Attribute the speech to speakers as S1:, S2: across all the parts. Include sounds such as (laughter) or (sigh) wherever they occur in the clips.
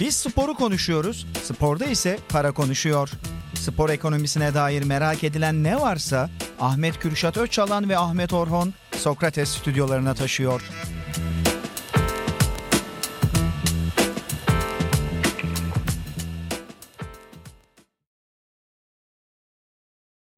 S1: Biz sporu konuşuyoruz, sporda ise para konuşuyor. Spor ekonomisine dair merak edilen ne varsa Ahmet Kürşat Öçalan ve Ahmet Orhon Sokrates stüdyolarına taşıyor.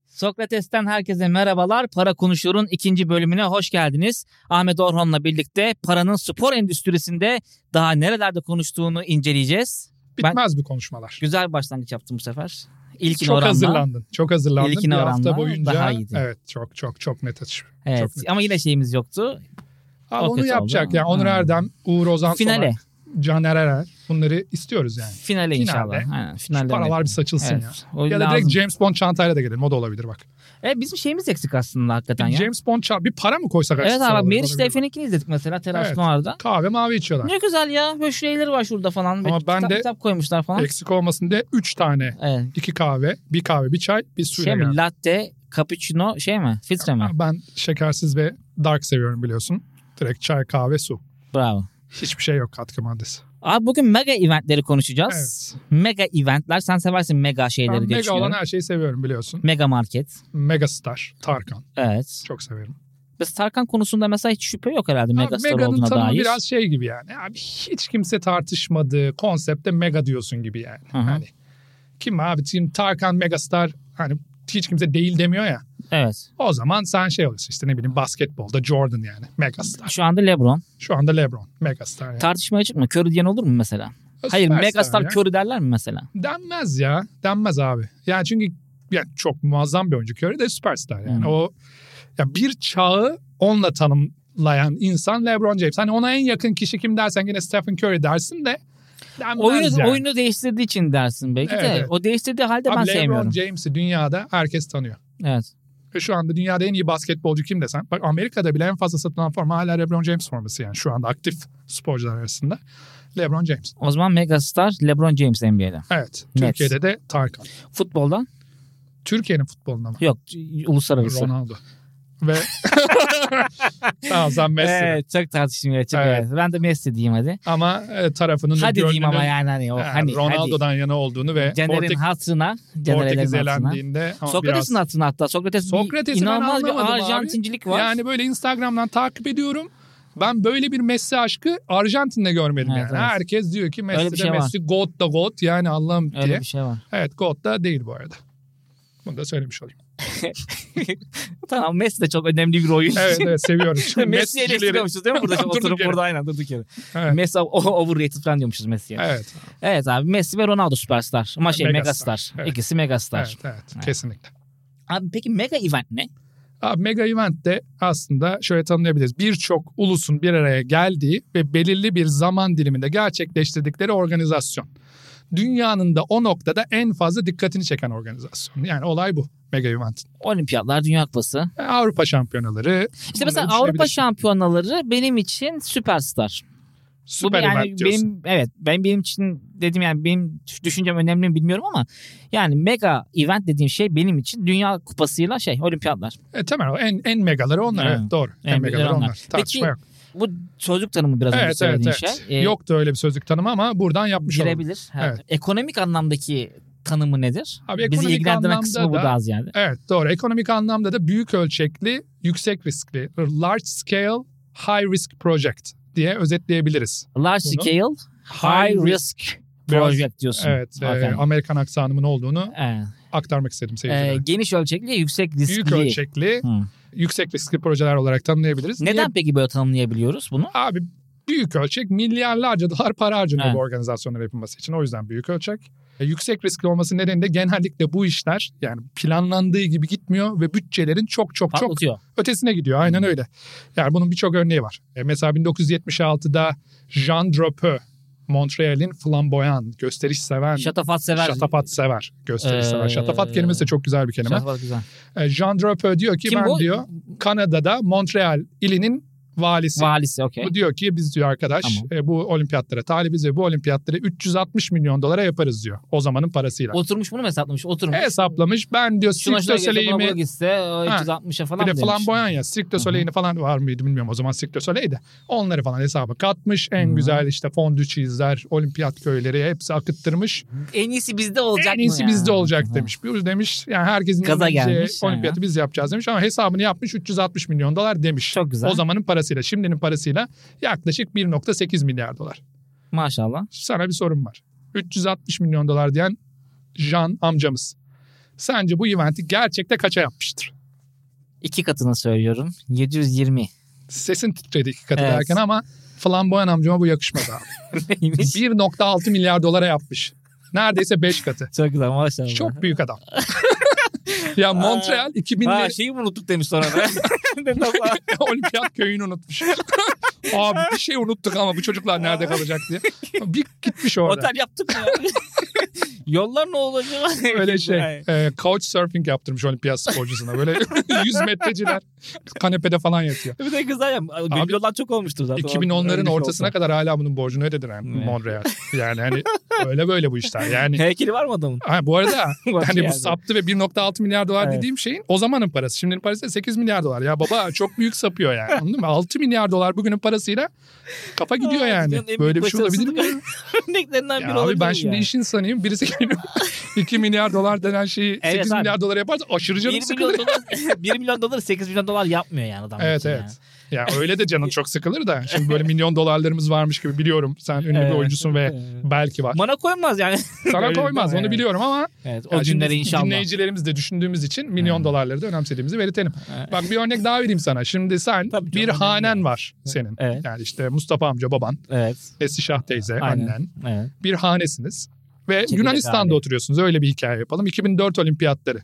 S2: Sokrates'ten herkese merhabalar. Para Konuşur'un ikinci bölümüne hoş geldiniz. Ahmet Orhon'la birlikte paranın spor endüstrisinde daha nerelerde konuştuğunu inceleyeceğiz.
S3: Bitmez bu konuşmalar.
S2: Güzel bir başlangıç yaptım bu sefer. İlkine
S3: çok
S2: oranla.
S3: hazırlandın. Çok hazırlandın.
S2: İlkine
S3: bir hafta
S2: oranla
S3: boyunca.
S2: daha iyiydi.
S3: Evet çok çok çok net atış.
S2: Evet.
S3: Çok net.
S2: Ama yine şeyimiz yoktu.
S3: Abi
S2: O
S3: onu
S2: kötü
S3: yapacak
S2: oldu
S3: yani.
S2: ama.
S3: Onur
S2: Ha.
S3: Erdem, Uğur Ozan
S2: Finale.
S3: Somer, Caner Erer. Bunları istiyoruz yani.
S2: Finale inşallah. Aynen,
S3: Şu
S2: finale
S3: paralar bir saçılsın
S2: Evet,
S3: ya.
S2: o
S3: Ya da
S2: lazım.
S3: direkt James Bond çantayla da gelelim. O da olabilir bak.
S2: E, bizim şeyimiz eksik aslında hakikaten ya.
S3: James Bond çanta. Bir para mı koysak?
S2: Evet
S3: açıkçası
S2: abi
S3: olabilir,
S2: Meriç
S3: olabilir.
S2: Defne'ninkini izledik mesela Teras
S3: Evet.
S2: Noir'da.
S3: Kahve mavi içiyorlar.
S2: Ne güzel ya. Böyle şeyleri var şurada falan.
S3: Ama
S2: Böyle
S3: ben
S2: kitap,
S3: de-
S2: kitap koymuşlar falan.
S3: Eksik olmasın diye 3 tane.
S2: Evet.
S3: 2 kahve, bir kahve, bir çay, bir su.
S2: Şey mi? Latte, cappuccino şey mi? Filtre mi?
S3: Ben şekersiz ve dark seviyorum biliyorsun. Direkt çay, kahve, su.
S2: Bravo.
S3: Hiçbir şey yok katkı maddesi.
S2: Abi bugün mega eventleri konuşacağız. Mega eventler. Sen seversin mega şeyleri
S3: Ben
S2: diye
S3: mega
S2: düşünüyorum.
S3: olan her şeyi seviyorum biliyorsun.
S2: Mega market.
S3: Megastar, Tarkan.
S2: Evet.
S3: Çok severim.
S2: Biz Tarkan konusunda mesela hiç şüphe yok herhalde mega
S3: Abi
S2: star
S3: Mega'nın
S2: olduğuna
S3: tanımı
S2: dair.
S3: biraz şey gibi yani. Abi hiç kimse tartışmadığı konsepte mega diyorsun gibi yani.
S2: Hı hı.
S3: Hani kim abi şimdi Tarkan Megastar hani hiç kimse değil demiyor ya.
S2: Evet.
S3: O zaman sen şey oluyorsun işte ne bileyim basketbolda Jordan yani Megastar.
S2: Şu anda LeBron.
S3: Şu anda LeBron Megastar. Yani.
S2: Tartışmaya çıkma. Curry diyen olur mu mesela? Hayır
S3: Süperstar
S2: mega star
S3: ya.
S2: Curry derler mi mesela?
S3: Denmez ya. Denmez abi. Yani çünkü yani çok muazzam bir oyuncu. Curry de süperstar yani.
S2: Hmm.
S3: O ya bir çağı onunla tanımlayan insan LeBron James. Hani ona en yakın kişi kim dersen yine Stephen Curry dersin de denmez
S2: Oyunu,
S3: yani.
S2: oyunu değiştirdiği için dersin belki de.
S3: Evet, evet.
S2: O değiştirdiği halde
S3: Abi
S2: ben
S3: LeBron
S2: sevmiyorum.
S3: James'i dünyada herkes tanıyor.
S2: Evet.
S3: Ve şu anda dünyada en iyi basketbolcu kim desen. Bak Amerika'da bile en fazla satılan forma hala LeBron James forması yani. Şu anda aktif sporcular arasında. LeBron James.
S2: O zaman megastar LeBron James NBA'de.
S3: Evet.
S2: Net.
S3: Türkiye'de de Tarkan.
S2: Futboldan?
S3: Türkiye'nin futboluna mı?
S2: Yok. Uluslararası.
S3: Ronaldo. Ve (laughs) tamam sen Messi.
S2: Evet, çok tartışmıyor. Çok
S3: Evet.
S2: evet. Ben de Messi diyeyim hadi.
S3: Ama e, tarafının
S2: Hadi
S3: gönlünün
S2: diyeyim ama yani hani o
S3: e,
S2: hani
S3: Ronaldo'dan yana olduğunu ve
S2: hadi. Caner'in
S3: Portek-
S2: hatırına, Caner'in
S3: Portekiz
S2: hatırına.
S3: elendiğinde ama biraz-
S2: Sokrates'in hatırına hatta. Sokrates bir
S3: Sokrates'i ben
S2: inanılmaz
S3: anlamadım
S2: bir
S3: abi.
S2: Arjantincilik var.
S3: Yani böyle Instagram'dan takip ediyorum. Ben böyle bir Messi aşkı Arjantin'de görmedim
S2: Evet,
S3: yani.
S2: evet.
S3: Herkes diyor ki Messi
S2: Öyle
S3: de
S2: bir şey var.
S3: Messi, God da God yani Allah'ım diye.
S2: Öyle bir şey var.
S3: Evet God da değil bu arada. Bunu da
S2: (laughs)
S3: söylemiş olayım.
S2: Tamam Messi de çok önemli bir oyuncu.
S3: Evet evet seviyoruz.
S2: (laughs)
S3: Şimdi
S2: Messi'yi
S3: Messi'cileri-
S2: eleştiriyormuşuz değil mi?
S3: (laughs)
S2: Burada
S3: Durduk
S2: oturup
S3: yere.
S2: burada aynen durduk yere.
S3: Evet.
S2: Messi o- overrated falan diyormuşuz Messi'ye. Evet.
S3: Evet,
S2: abi Messi ve Ronaldo süperstar. Ama şey
S3: Megastar.
S2: megastar.
S3: Evet.
S2: İkisi megastar.
S3: evet, evet,
S2: Evet.
S3: kesinlikle.
S2: Abi peki mega event ne?
S3: Abi mega event de aslında şöyle tanımlayabiliriz. Birçok ulusun bir araya geldiği ve belirli bir zaman diliminde gerçekleştirdikleri organizasyon. Dünyanın da o noktada en fazla dikkatini çeken organizasyon. Yani olay bu mega event.
S2: Olimpiyatlar, Dünya Kupası.
S3: E, Avrupa şampiyonaları.
S2: İşte
S3: Bunları
S2: mesela Avrupa
S3: düşünebilirsin.
S2: şampiyonaları benim için süperstar. Bu
S3: Süper
S2: yani
S3: event diyorsun.
S2: benim evet ben benim için dedim yani benim düşüncem önemli mi bilmiyorum ama yani mega event dediğim şey benim için dünya kupasıyla şey olimpiyatlar.
S3: E, tamam o en, en megaları onlar.
S2: Evet.
S3: Evet, doğru. En,
S2: En
S3: megaları
S2: megaları
S3: onlar.
S2: onlar.
S3: Tartışma
S2: Peki, Bu sözlük tanımı biraz
S3: yok.
S2: önce
S3: Evet evet
S2: söylediğin
S3: evet.
S2: şey. Ee,
S3: Yoktu öyle bir sözlük tanımı ama buradan yapmış olduk.
S2: girebilir. Ha.
S3: Evet.
S2: Ekonomik anlamdaki tanımı nedir?
S3: Abi
S2: Bizi
S3: ekonomik
S2: ilgilendiren
S3: anlamda
S2: kısmı bu
S3: da-
S2: daha ziyade.
S3: Evet doğru. Ekonomik anlamda da büyük ölçekli, yüksek riskli, large scale, high risk project diye özetleyebiliriz.
S2: Large
S3: Bunu-
S2: scale
S3: High
S2: high risk,
S3: Biraz-
S2: project diyorsun.
S3: Evet, e,
S2: Aferin.
S3: Amerikan aksanımın olduğunu
S2: Evet.
S3: aktarmak istedim
S2: Ee,
S3: seyircilere.
S2: geniş ölçekli yüksek riskli.
S3: büyük ölçekli,
S2: Hı.
S3: yüksek riskli projeler olarak tanımlayabiliriz.
S2: Neden
S3: Niye?
S2: peki böyle tanımlayabiliyoruz bunu?
S3: Abi büyük ölçek milyarlarca (laughs) dolar para harcanıyor
S2: Evet.
S3: bu organizasyonların yapılması için. O yüzden büyük ölçek. E, yüksek riskli olması nedeniyle genellikle bu işler yani planlandığı gibi gitmiyor ve bütçelerin çok çok çok
S2: Patlatıyor.
S3: ötesine gidiyor. Aynen öyle. Yani bunun birçok örneği var. E, mesela 1976'da Jean Drapeau, Montreal'in flamboyan, gösteriş seven,
S2: Şatafat sever.
S3: hani şatafat sever, gösteriş
S2: Ee,
S3: sever. Şatafat kelimesi de çok güzel bir kelime.
S2: Şatafat güzel.
S3: E, Jean Drapeau diyor ki
S2: Kim
S3: ben
S2: bu?
S3: diyor Kanada'da Montreal ilinin valisi.
S2: Valisi okey.
S3: Bu diyor ki biz diyor arkadaş
S2: Tamam.
S3: e, bu olimpiyatlara talibiz ve bu olimpiyatları 360 milyon dolara yaparız diyor. O zamanın parasıyla.
S2: Oturmuş bunu mu hesaplamış? Oturmuş.
S3: E, Hesaplamış ben diyor
S2: Şuna şuna
S3: Cirque du
S2: gelse buna buna
S3: Soleil'imi
S2: gitse o 360'a falan
S3: bir de
S2: mı demiş?
S3: flamboyan ya Cirque
S2: Hı
S3: du
S2: hı.
S3: Soleil'ini falan var mıydı bilmiyorum o zaman Cirque du Soleil'de. Onları falan hesaba katmış. En
S2: Hı hı.
S3: güzel işte fondü çizler, olimpiyat köyleri hepsi akıttırmış.
S2: En iyisi bizde olacak
S3: en iyisi
S2: mı ya?
S3: bizde olacak
S2: Hı.
S3: demiş. Bir demiş yani herkesin
S2: Gaza
S3: yapabileceği
S2: gelmiş, ha.
S3: olimpiyatı biz yapacağız demiş ama hesabını yapmış 360 milyon dolar demiş.
S2: Çok güzel.
S3: O zamanın parasıyla şimdinin parasıyla yaklaşık 1.8 milyar dolar.
S2: Maşallah.
S3: sana bir sorum var. 360 milyon dolar diyen Jean amcamız. Sence bu eventi gerçekte kaça yapmıştır?
S2: İki katını söylüyorum.
S3: (laughs)
S2: 720.
S3: Sesin titredi iki katı
S2: Evet.
S3: derken ama flamboyan amcama bu yakışmadı
S2: (laughs)
S3: abi.
S2: Neymiş?
S3: 1.6 milyar dolara yapmış. Neredeyse 5 katı.
S2: Çok güzel maşallah.
S3: Çok büyük adam. (laughs) ya Montreal 2000'li
S2: Ha şeyi mi unuttuk demiş sonra
S3: (laughs)
S2: da. (laughs) Dedim ama.
S3: olimpiyat köyünü
S2: (laughs)
S3: unutmuş. Abi bir şey unuttuk ama bu çocuklar nerede kalacak diye. Bir gitmiş orada.
S2: Otel yaptık mı? ya? (laughs) Yollar ne olacak?
S3: (laughs) Öyle şey. E, couch surfing yaptırmış olimpiyat sporcusuna. Böyle (laughs) 100 metreciler kanepede falan yatıyor.
S2: Bir de güzel ya. Benim
S3: Abi,
S2: yollar çok olmuştur zaten.
S3: 2010'ların
S2: Öyle bir şey
S3: ortasına
S2: olsa.
S3: kadar hala bunun borcunu ödedin yani
S2: Evet.
S3: Monreal. Yani hani öyle böyle bu işler. Yani
S2: Heykeli var mı adamın? (laughs)
S3: ha, bu arada
S2: Başı
S3: hani bu
S2: yerde.
S3: saptı ve 1.6 milyar dolar
S2: Evet.
S3: dediğim şeyin o zamanın parası. Şimdinin parası da 8 milyar dolar. Ya baba çok büyük sapıyor yani. Anladın mı? 6 milyar dolar bugünün parasıyla kafa gidiyor
S2: Aa,
S3: yani.
S2: dünyanın en
S3: Böyle bir
S2: büyük
S3: şey olabilir
S2: (laughs)
S3: mi?
S2: başarısızlık Örneklerinden biri
S3: Ya
S2: olabilir
S3: abi ben
S2: mi
S3: şimdi
S2: yani?
S3: iş insanıyım. Birisi
S2: (laughs)
S3: geliyor 2 milyar dolar denen şeyi 8
S2: Evet abi.
S3: milyar dolara yaparsa aşırı
S2: 1
S3: canım sıkılır.
S2: milyon dolar (laughs) 1 milyon dolar 8 milyon dolar yapmıyor yani adam.
S3: Evet
S2: için
S3: evet.
S2: yani.
S3: Ya öyle de canın çok sıkılır da. Şimdi
S2: (laughs)
S3: böyle milyon dolarlarımız varmış gibi biliyorum. Sen ünlü
S2: Evet.
S3: bir oyuncusun ve
S2: Evet.
S3: belki var.
S2: Bana koyulmaz
S3: (laughs)
S2: yani.
S3: Sana
S2: Öyle
S3: koymaz
S2: değil mi?
S3: onu biliyorum ama
S2: Evet o
S3: ya şimdi
S2: günleri inşallah.
S3: dinleyicilerimiz de düşündüğümüz için milyon
S2: Evet.
S3: dolarları da önemsediğimizi belirtelim.
S2: Evet.
S3: Bak bir örnek daha vereyim sana. Şimdi sen
S2: Tabii canım,
S3: bir
S2: önemli
S3: hanen
S2: yani.
S3: var senin.
S2: Evet.
S3: Yani işte Mustafa amca baban,
S2: Evet.
S3: Esri Şah teyze,
S2: Aynen.
S3: annen
S2: Evet.
S3: bir hanesiniz. Ve
S2: Çekirdek
S3: Yunanistan'da
S2: hane.
S3: oturuyorsunuz. Öyle bir hikaye yapalım. 2004 olimpiyatları.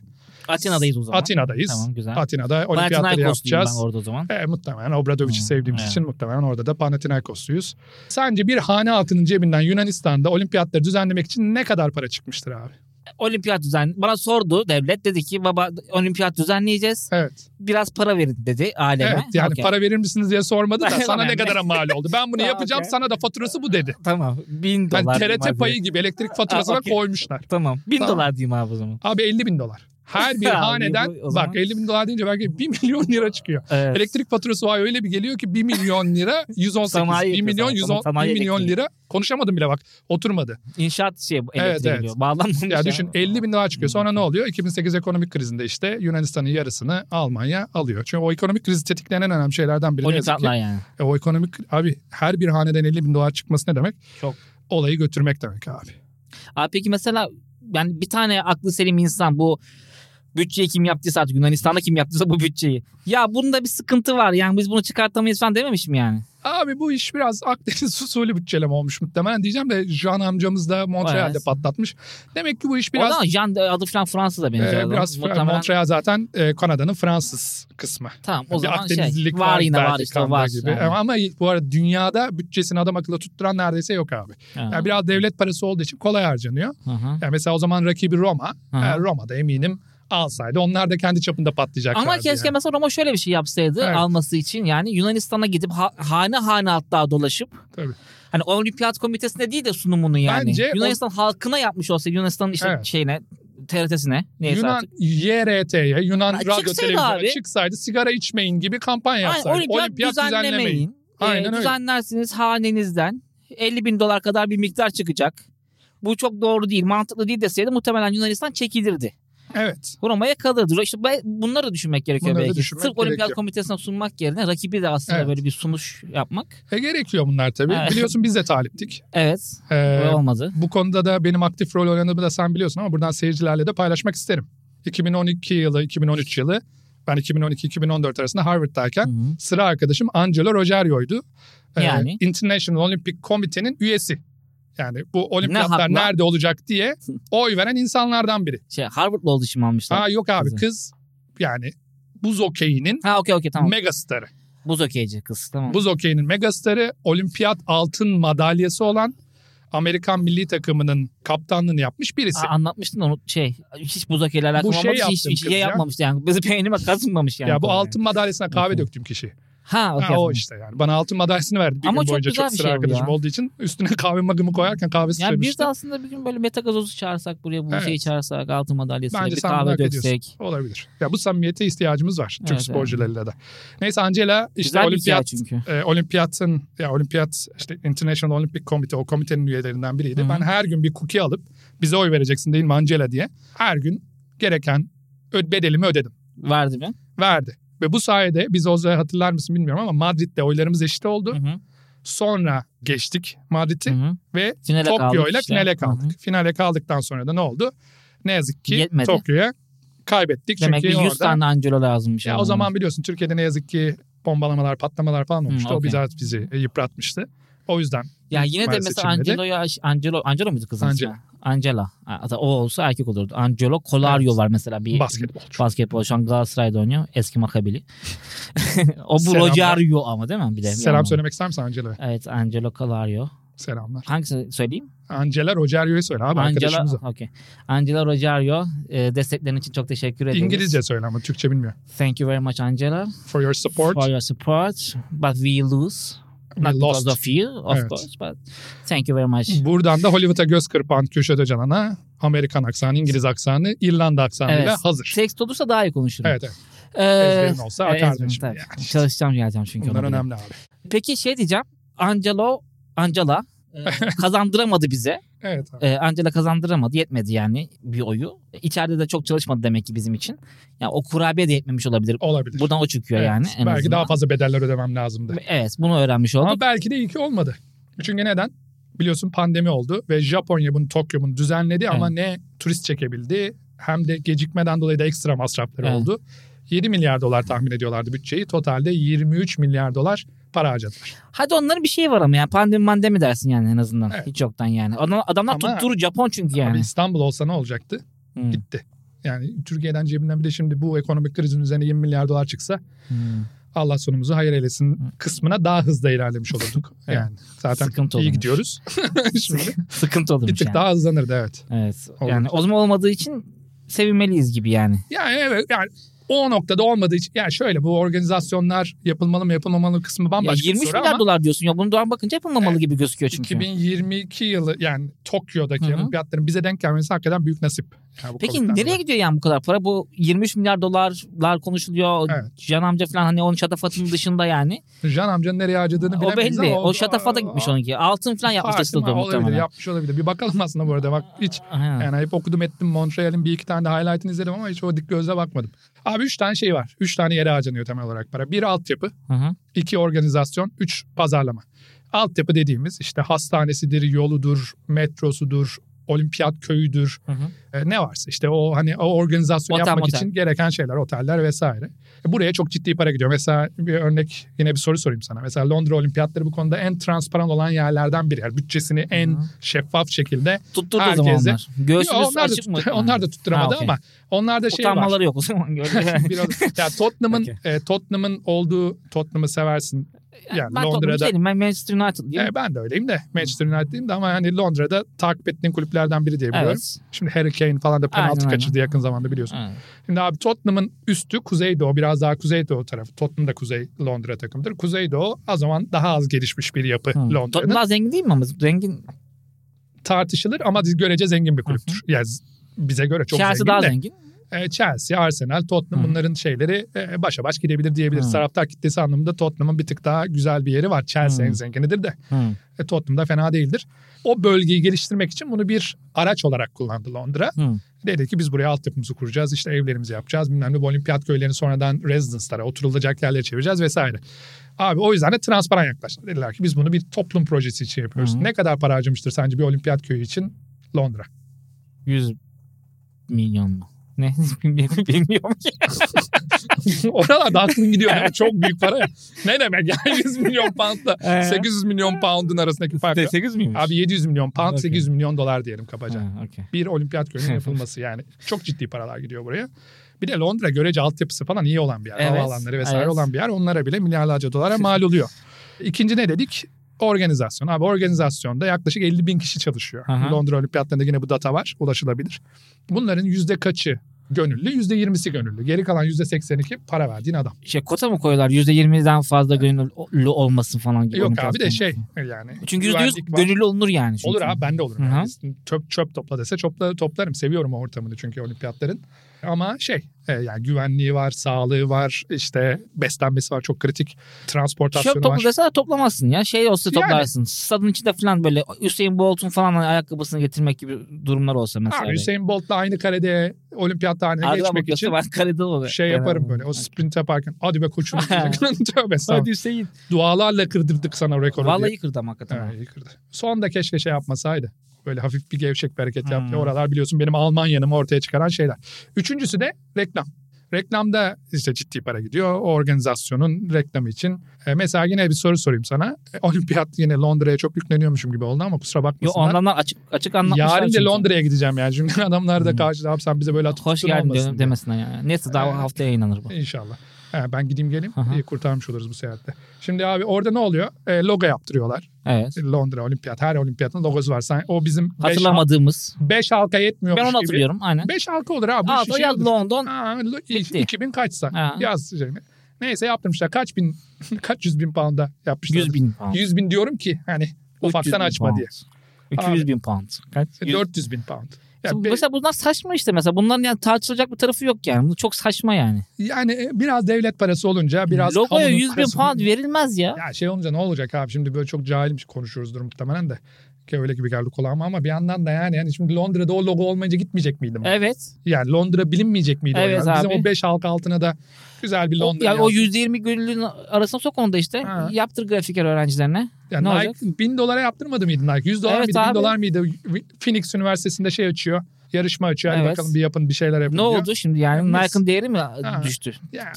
S2: Atina'dayız o zaman.
S3: Atina'dayız.
S2: Tamam güzel.
S3: Atina'da olimpiyatları
S2: Panathinaikosluyum ben
S3: yapacağız.
S2: orada o zaman.
S3: E, muhtemelen Obradovic'i
S2: Hmm,
S3: sevdiğimiz
S2: evet.
S3: için muhtemelen orada da Panathinaikosluyuz. Sence bir hane halkının cebinden Yunanistan'da olimpiyatları düzenlemek için ne kadar para çıkmıştır abi?
S2: Olimpiyat düzen bana sordu devlet dedi ki baba olimpiyat düzenleyeceğiz.
S3: Evet.
S2: Biraz para verin dedi aileme.
S3: Evet yani
S2: Okey.
S3: para verir misiniz
S2: (laughs)
S3: diye sormadı da
S2: Tamam,
S3: sana ne
S2: yani.
S3: kadara mal oldu. Ben
S2: (laughs)
S3: bunu
S2: Tamam,
S3: yapacağım
S2: okey.
S3: sana da faturası bu dedi.
S2: Tamam. Bin
S3: Ben
S2: dolar. diyeyim abi.
S3: TRT payı gibi
S2: (laughs)
S3: elektrik faturasına
S2: Aa, okey.
S3: koymuşlar.
S2: Tamam. Bin
S3: Tamam.
S2: dolar diyeyim abi o zaman.
S3: Abi 50 bin dolar. Her
S2: (laughs)
S3: bir
S2: Abi,
S3: haneden
S2: bu- o zaman-
S3: bak 50 bin dolar deyince belki 1 milyon lira çıkıyor.
S2: Evet.
S3: Elektrik faturası var öyle bir geliyor ki 1 milyon lira 118.
S2: Sanayi
S3: 1 milyon
S2: yapıyor sana,
S3: 110
S2: sanayi
S3: 1 milyon
S2: elektriği.
S3: lira konuşamadım bile bak oturmadı.
S2: İnşaat şey elektriğe
S3: Evet, evet.
S2: geliyor. Bağlanmamış.
S3: Ya düşün 50 bin dolar çıkıyor. Sonra ne oluyor? 2008 ekonomik krizinde işte Yunanistan'ın yarısını Almanya alıyor. Çünkü o ekonomik kriz tetiklenen en önemli şeylerden biri. Ne yazık ki
S2: Olimpiyatlar yani.
S3: E, o ekonomik abi her bir haneden 50 bin dolar çıkması ne demek?
S2: Çok.
S3: Olayı götürmek demek abi.
S2: Abi peki mesela yani bir tane aklı selim insan bu bütçeyi kim yaptıysa artık Yunanistan'da kim yaptıysa bu bütçeyi. Ya bunda bir sıkıntı var yani biz bunu çıkartamayız falan dememiş mi yani?
S3: Abi bu iş biraz (laughs) Akdeniz usulü bütçeleme olmuş muhtemelen diyeceğim de Jean amcamız da Montreal'de
S2: Evet.
S3: patlatmış. Demek ki bu iş
S2: Biraz,
S3: biraz
S2: o da Jean de- adı falan Fransız'a
S3: e,
S2: benziyor. adam.
S3: biraz Fra-
S2: Muhtemelen-
S3: Montreal zaten e, Kanada'nın Fransız kısmı.
S2: Tamam o
S3: bir
S2: zaman şey
S3: Akdenizlilik
S2: var yine var
S3: belki
S2: işte
S3: kanda
S2: var.
S3: gibi. E,
S2: Yani.
S3: Ama bu arada dünyada bütçesini adam akıllı tutturan neredeyse yok abi.
S2: Ha.
S3: Yani biraz devlet parası olduğu için kolay harcanıyor.
S2: Hı hı.
S3: Yani mesela o zaman rakibi Roma.
S2: Aha.
S3: E, Roma'da eminim alsaydı onlar da kendi çapında patlayacaklardı.
S2: Ama keşke
S3: yani.
S2: mesela Roma şöyle bir şey yapsaydı
S3: Evet.
S2: alması için yani Yunanistan'a gidip ha- hane hane hatta dolaşıp
S3: Tabii.
S2: hani olimpiyat komitesine değil de sunumunu yani
S3: Bence o-
S2: Yunanistan halkına yapmış olsaydı Yunanistan'ın işte
S3: Evet.
S2: şeyine TRT'sine neyse
S3: Yunan
S2: artık.
S3: YRT'ye, Yunan
S2: Ha,
S3: Radyo
S2: çıksaydı
S3: Televizyonu
S2: abi.
S3: çıksaydı sigara içmeyin gibi kampanya
S2: Aynen,
S3: yapsaydı.
S2: olimpiyat, düzenlemeyin. Ee,
S3: Aynen öyle.
S2: Düzenlersiniz hanenizden 50 bin dolar kadar bir miktar çıkacak. Bu çok doğru değil, mantıklı değil deseydi muhtemelen Yunanistan çekilirdi.
S3: Evet.
S2: Roma'ya kalırdı. İşte be- bunları da düşünmek gerekiyor
S3: Bunları da
S2: belki.
S3: düşünmek
S2: Sırf Olimpiyat
S3: gerekiyor.
S2: Komitesi'ne sunmak yerine rakibi de aslında
S3: Evet.
S2: böyle bir sunuş yapmak.
S3: E, gerekiyor bunlar tabii.
S2: Evet.
S3: Biliyorsun biz de taliptik.
S2: Evet,
S3: Ee,
S2: öyle olmadı.
S3: bu konuda da benim aktif rol oynadığımı da sen biliyorsun ama buradan seyircilerle de paylaşmak isterim. 2012 yılı, 2013 yılı ben 2012-2014 arasında Harvard'dayken
S2: Hı-hı.
S3: sıra arkadaşım Angelo Rogerio'ydu. Ee,
S2: Yani?
S3: International Olympic Committee'nin üyesi. Yani bu olimpiyatlar
S2: hakla?
S3: nerede olacak
S2: (laughs)
S3: diye oy veren insanlardan biri.
S2: Şey, Harvard'lı olduğu için mi almışlar?
S3: Aa yok abi
S2: Kızı.
S3: kız yani buz okeyinin
S2: Ha okey okey tamam.
S3: mega starı.
S2: Buz okeyci kız tamam.
S3: Buz okeyinin mega starı olimpiyat altın madalyası olan Amerikan milli takımının kaptanlığını yapmış birisi.
S2: Aa, anlatmıştın onu şey hiç buz okeyle alakalı
S3: Bu şey
S2: olmamış hiç,
S3: yaptım
S2: hiç
S3: kız
S2: şey
S3: ya.
S2: yapmamıştı yani. Bizi peynime kazınmamış yani.
S3: ya bu
S2: kolay.
S3: altın madalyasına kahve
S2: Okey.
S3: döktüm kişi.
S2: Ha, okey.
S3: Ha, o
S2: tamam.
S3: işte yani. Bana altın madalyasını verdi bir
S2: Ama
S3: gün
S2: çok
S3: boyunca
S2: güzel
S3: çok
S2: bir
S3: sıra
S2: şey bu
S3: arkadaşım
S2: ya.
S3: olduğu için. Üstüne kahve magımı koyarken kahvesi
S2: Yani bir de
S3: söylemiştim.
S2: aslında bir gün böyle metagazozu çağırsak buraya bu
S3: Evet.
S2: şeyi çağırsak altın madalyasıyla
S3: Bence
S2: bir
S3: sen bunu
S2: kahve
S3: hak ediyorsun.
S2: döksek.
S3: Olabilir. Ya bu samimiyete ihtiyacımız var. Türk
S2: Evet,
S3: sporcularıyla da. Neyse Angela işte
S2: Güzel bir hikaye
S3: olimpiyat
S2: çünkü.
S3: e, olimpiyatın ya olimpiyat işte International Olympic Committee o komitenin üyelerinden biriydi.
S2: Hı hı.
S3: Ben her gün bir cookie alıp bize oy vereceksin değil mi Angela diye. Her gün gereken ö- bedelimi ödedim.
S2: Verdi mi?
S3: Verdi. Ve bu sayede biz o zaman hatırlar mısın bilmiyorum ama Madrid'de oylarımız eşit oldu.
S2: Hı hı.
S3: Sonra geçtik Madrid'i
S2: Hı hı.
S3: ve
S2: Finale
S3: Tokyo
S2: kaldık
S3: ile
S2: işte.
S3: finale
S2: Hı
S3: kaldık.
S2: hı.
S3: Finale kaldıktan sonra da ne oldu? Ne yazık ki
S2: Yetmedi.
S3: Tokyo'ya kaybettik.
S2: Demek ki
S3: Çünkü
S2: 100
S3: orada
S2: tane Angelo lazımmış.
S3: ya
S2: yani.
S3: o zaman biliyorsun Türkiye'de ne yazık ki bombalamalar, patlamalar falan olmuştu. O
S2: Hmm, okey.
S3: biraz bizi yıpratmıştı. O yüzden
S2: Ya yine de
S3: ihtimal
S2: mesela
S3: seçilmedi.
S2: Angelo'ya Angelo Angelo muydu kızın
S3: Angela.
S2: ismi? Angela. Ha, O olsa erkek olurdu. Angelo Colario
S3: Evet.
S2: var mesela bir
S3: basketbolcu.
S2: basketbol şu an Galatasaray'da oynuyor. Eski makabili. (laughs) o bu
S3: Selamlar.
S2: Rogerio ama değil mi? Bir de bir
S3: Selam
S2: anlamda.
S3: söylemek ister misin Angela'ya?
S2: Evet Angelo Colario.
S3: Selamlar.
S2: Hangisini söyleyeyim?
S3: Angela Rogerio'yu söyle abi
S2: Angela,
S3: arkadaşımıza.
S2: okay. Angela Rogerio e, desteklerin için çok teşekkür ederiz.
S3: İngilizce söyle ama Türkçe bilmiyor.
S2: Thank you very much Angela
S3: For your support,
S2: for your support. But we lose. Not
S3: we lost.
S2: because of you of
S3: Evet.
S2: course but thank you very much.
S3: Buradan da Hollywood'a göz kırpan Köşede Canan'a Amerikan aksanı, İngiliz aksanı, İrlanda aksanıyla
S2: Evet.
S3: hazır.
S2: Seks olursa daha iyi konuşurum.
S3: Evet evet.
S2: Ee,
S3: Ezberin olsa
S2: evet,
S3: akardı
S2: ezberim,
S3: şimdi
S2: tabii.
S3: yani.
S2: Çalışacağım geleceğim çünkü.
S3: Bunlar
S2: ona bile.
S3: önemli abi.
S2: Peki şey diyeceğim. Angelo, Angela
S3: (laughs)
S2: e, kazandıramadı bize.
S3: Evet abi.
S2: E, Angela kazandıramadı. Yetmedi yani bir oyu. İçeride de çok çalışmadı demek ki bizim için. Yani o kurabiye de yetmemiş olabilir.
S3: Olabilir.
S2: Buradan o çıkıyor
S3: Evet,
S2: yani. En
S3: belki
S2: azından.
S3: daha fazla bedeller ödemem lazımdı.
S2: Evet bunu öğrenmiş olduk.
S3: Ama belki de iyi ki olmadı. Çünkü neden? Biliyorsun pandemi oldu ve Japonya bunu Tokyo bunu düzenledi ama ne turist çekebildi hem de gecikmeden dolayı da ekstra masrafları
S2: Evet.
S3: oldu. 7 milyar dolar tahmin ediyorlardı bütçeyi. Totalde 23 milyar dolar para harcadılar.
S2: Hadi onların bir şeyi var ama yani pandemi mandemi dersin yani en azından.
S3: Evet.
S2: Hiç yoktan yani. Adam, adamlar
S3: Ama-
S2: tutturu Japon çünkü yani.
S3: Abi İstanbul olsa ne olacaktı?
S2: Hmm,
S3: Gitti. Yani Türkiye'den cebinden bir de şimdi bu ekonomik krizin üzerine 20 milyar dolar çıksa
S2: hmm.
S3: Allah sonumuzu hayır eylesin
S2: Hı.
S3: kısmına daha hızlı ilerlemiş olurduk.
S2: (laughs) Evet.
S3: Yani zaten
S2: Sıkıntı
S3: iyi
S2: olurmuş.
S3: gidiyoruz. (laughs) şimdi
S2: Sıkıntı
S3: bir
S2: olurmuş
S3: tık
S2: yani.
S3: daha hızlanırdı evet.
S2: Evet.
S3: Olur.
S2: Yani o zaman olmadığı için sevinmeliyiz gibi yani.
S3: Yani evet yani o noktada olmadığı için yani şöyle bu organizasyonlar yapılmalı mı yapılmamalı kısmı
S2: Ya
S3: bambaşka
S2: 23
S3: bir soru
S2: milyar
S3: ama
S2: dolar diyorsun ya bunu doğan bakınca yapılmamalı
S3: Evet.
S2: gibi gözüküyor çünkü.
S3: 2022 yılı yani Tokyo'daki
S2: Hı hı.
S3: olimpiyatların bize denk gelmesi hakikaten büyük nasip. Yani bu
S2: Peki
S3: Covid'den
S2: nereye
S3: dolayı.
S2: gidiyor yani bu kadar para? Bu 23 milyar dolarlar konuşuluyor.
S3: Evet.
S2: Can amca falan hani onun şatafatının dışında yani.
S3: Can amcanın nereye harcadığını
S2: o
S3: bilemeyiz
S2: belli.
S3: ama
S2: O şatafata gitmiş onunki. Altın falan yapmış
S3: Parti
S2: açıldı
S3: mi? Olabilir
S2: muhtemelen.
S3: yapmış olabilir. Bir bakalım aslında bu arada bak hiç
S2: Aynen.
S3: yani hep okudum ettim Montreal'in bir iki tane de highlight'ını izledim ama hiç o dik gözle bakmadım. Abi üç tane şey var. Üç tane yere harcanıyor temel olarak para. Bir altyapı.
S2: Hı hı.
S3: İki organizasyon, üç pazarlama. Altyapı dediğimiz işte hastanesidir, yoludur, metrosudur, olimpiyat köyüdür,
S2: Hı hı.
S3: e, ne varsa işte o hani o organizasyon
S2: Otel,
S3: yapmak
S2: motel.
S3: için gereken şeyler, oteller vesaire. E, buraya çok ciddi para gidiyor. Mesela bir örnek yine bir soru sorayım sana. Mesela Londra Olimpiyatları bu konuda en transparan olan yerlerden biri. Yani bütçesini en
S2: Hı.
S3: şeffaf şekilde.
S2: Tutturdu o
S3: Herkese-
S2: zaman onlar. Göğsümüz
S3: Yo, onlar, da
S2: açık mı?
S3: tut- (laughs) onlar da tutturamadı
S2: Ha, okey.
S3: ama onlar da şey var.
S2: Utanmaları yok o zaman. Gördün mü?
S3: (laughs) Biraz, ya
S2: (laughs)
S3: Tottenham'ın
S2: Okey.
S3: e, Tottenham'ın olduğu Tottenham'ı seversin. (laughs) Yani
S2: ben Londra'da...
S3: Londra'da
S2: değilim. Ben Manchester United'lıyım.
S3: E, ben de öyleyim de Manchester United'liyim de ama hani Londra'da takip ettiğin kulüplerden biri diye biliyorum.
S2: Evet.
S3: Şimdi Harry Kane falan da penaltı
S2: Aynen, aynen.
S3: kaçırdı yakın zamanda biliyorsun.
S2: Evet.
S3: Şimdi abi Tottenham'ın üstü Kuzeydoğu biraz daha Kuzeydoğu tarafı. Tottenham da Kuzey Londra takımıdır. Kuzeydoğu o zaman daha az gelişmiş bir yapı
S2: Hı.
S3: Londra'nın.
S2: Daha zengin değil mi ama? Zengin.
S3: Tartışılır ama görece zengin bir kulüptür. Yani z- bize göre çok
S2: Chelsea
S3: zengin
S2: daha
S3: de.
S2: zengin.
S3: E, Chelsea, Arsenal, Tottenham
S2: Hı.
S3: bunların şeyleri e, başa baş gidebilir diyebiliriz.
S2: Hı.
S3: Taraftar kitlesi anlamında Tottenham'ın bir tık daha güzel bir yeri var. Chelsea
S2: Hı.
S3: en zenginidir de.
S2: Hı.
S3: E, Tottenham da fena değildir. O bölgeyi geliştirmek için bunu bir araç olarak kullandı Londra.
S2: Hı.
S3: Dedi ki biz buraya altyapımızı kuracağız, işte evlerimizi yapacağız, bilmem ne bu olimpiyat köylerini sonradan residence'lara, oturulacak yerlere çevireceğiz vesaire. Abi o yüzden de transparan yaklaştılar. Dediler ki biz bunu bir toplum projesi için yapıyoruz.
S2: Hı hı.
S3: Ne kadar para harcamıştır sence bir olimpiyat köyü için Londra?
S2: 100 milyon mu? (laughs) Ne bilmiyorum ki.
S3: (laughs) Oralarda aklın gidiyor. değil mi? Çok büyük para ya. (laughs) Ne demek yani 100 milyon poundla
S2: Ee?
S3: 800 milyon poundun arasındaki fark. yok.
S2: 8 miymiş?
S3: Abi 700 milyon pound,
S2: Okey.
S3: 800 milyon dolar diyelim kabaca.
S2: Ha, okey.
S3: bir olimpiyat
S2: (laughs)
S3: köyünün yapılması yani. Çok ciddi paralar gidiyor buraya. Bir de Londra görece altyapısı falan iyi olan bir yer.
S2: Evet,
S3: Havaalanları vesaire
S2: evet.
S3: olan bir yer. Onlara bile
S2: (laughs)
S3: milyarlarca dolara mal oluyor. İkinci ne dedik? Organizasyon. Abi organizasyonda yaklaşık 50 bin kişi çalışıyor.
S2: Aha.
S3: Londra olimpiyatlarında yine bu data var. Ulaşılabilir. Bunların yüzde kaçı gönüllü, %20'si gönüllü. Geri kalan %82 para verdiğin adam.
S2: Şey kota mı koyuyorlar? %20'den fazla gönüllü olmasın falan gibi.
S3: Yok
S2: Onu
S3: abi de
S2: kastediyorum.
S3: şey yani.
S2: Çünkü
S3: güvenlik
S2: %100
S3: var.
S2: gönüllü olunur yani. çünkü.
S3: Olur abi ben de olurum.
S2: Hı hı.
S3: Yani. Çöp, çöp topla dese çopla, toplarım. Seviyorum o ortamını çünkü olimpiyatların. Ama şey e, yani güvenliği var, sağlığı var, işte beslenmesi var çok kritik. Transportasyonu
S2: Çöp
S3: var.
S2: toplu Şey dese de toplamazsın ya. Şey olsa
S3: Yani.
S2: toplarsın. Stadın içinde falan böyle Hüseyin Bolt'un falan hani ayakkabısını getirmek gibi durumlar olsa mesela.
S3: Abi Hüseyin Bolt'la aynı karede olimpiyat tarihine
S2: Arkadan
S3: geçmek
S2: bakıyorsa
S3: için
S2: ben karede olurum.
S3: şey
S2: Yani.
S3: yaparım böyle. O sprint yaparken hadi be koçum.
S2: (laughs)
S3: diyecek. (laughs) Tövbe estağfurullah.
S2: Hadi Hüseyin.
S3: Dualarla kırdırdık sana rekoru diye.
S2: Vallahi kırdım hakikaten.
S3: Ha, iyi kırdı. Son da keşke şey yapmasaydı. Böyle hafif bir gevşek bir hareket yaptı.
S2: Hmm.
S3: Oralar biliyorsun benim Almanya'nımı ortaya çıkaran şeyler. Üçüncüsü de reklam. Reklamda işte ciddi para gidiyor. O organizasyonun reklamı için. E, mesela yine bir soru sorayım sana. E, olimpiyat yine Londra'ya çok yükleniyormuşum gibi oldu ama kusura
S2: Yo,
S3: bakmasınlar.
S2: ondan açık açık anlatmışlar.
S3: Yarın
S2: çünkü.
S3: da Londra'ya gideceğim yani. Çünkü (laughs) adamlar da
S2: Hmm.
S3: karşıda abi sen bize böyle atıp
S2: Hoş
S3: tutun
S2: geldin
S3: olmasın
S2: diyorum
S3: diye."
S2: demesine yani. Neyse daha
S3: Evet.
S2: haftaya yayınlanır bu.
S3: İnşallah. Ha, ben gideyim geleyim.
S2: Aha.
S3: İyi, kurtarmış oluruz bu seyahatte. Şimdi abi orada ne oluyor? E, logo yaptırıyorlar.
S2: Evet.
S3: Londra Olimpiyat. Her olimpiyatın logosu var. Sen, o bizim 5
S2: Hatırlamadığımız.
S3: halka yetmiyormuş
S2: Ben onu
S3: gibi.
S2: hatırlıyorum aynen.
S3: 5 halka olur abi. Bu şey
S2: Altı
S3: şişe
S2: yaz
S3: olur.
S2: London.
S3: Aa, lo-
S2: Bitti.
S3: 2000 kaçsa
S2: Ha.
S3: yaz şeyini. Neyse yaptırmışlar. Kaç bin, (laughs) kaç yüz bin pound'a yapmışlar.
S2: 100 bin pound.
S3: 100 bin diyorum ki hani ufaktan
S2: 300 bin
S3: açma
S2: pound.
S3: diye.
S2: 300 bin pound. Kaç?
S3: 400 bin pound. Ya
S2: Şimdi
S3: be-
S2: mesela bunlar saçma işte mesela. Bunların yani tartışılacak bir tarafı yok yani. Bu çok saçma yani.
S3: yani e, biraz devlet parası olunca biraz
S2: Logoya
S3: kamunun
S2: 100 bin
S3: parası
S2: pound
S3: olunca-
S2: verilmez ya.
S3: Ya şey olunca ne olacak abi şimdi böyle çok cahilmiş konuşuyoruzdur muhtemelen de. Ki öyle gibi geldi kulağıma ama bir yandan da yani, yani şimdi Londra'da o logo olmayınca gitmeyecek miydim?
S2: Evet.
S3: Yani Londra bilinmeyecek miydi? o
S2: Evet
S3: yani? Bizim
S2: abi.
S3: o 5 halka altına da güzel bir
S2: O,
S3: Londra.
S2: yani
S3: Yani,
S2: o %20 gönüllünün arasına sok onu da işte.
S3: Ha.
S2: Yaptır grafiker öğrencilerine.
S3: yani
S2: ne
S3: Nike
S2: olacak?
S3: 1000 dolara yaptırmadı mıydı Nike? 100 dolar
S2: Evet
S3: mıydı? 1000
S2: abi.
S3: dolar mıydı? Phoenix Üniversitesi'nde şey açıyor. Yarışma açıyor. Hadi
S2: Evet.
S3: bakalım bir yapın bir şeyler yapın
S2: Ne
S3: diyor.
S2: oldu şimdi yani?
S3: Biz-
S2: Nike'ın değeri mi
S3: Ha.
S2: düştü?
S3: Yani,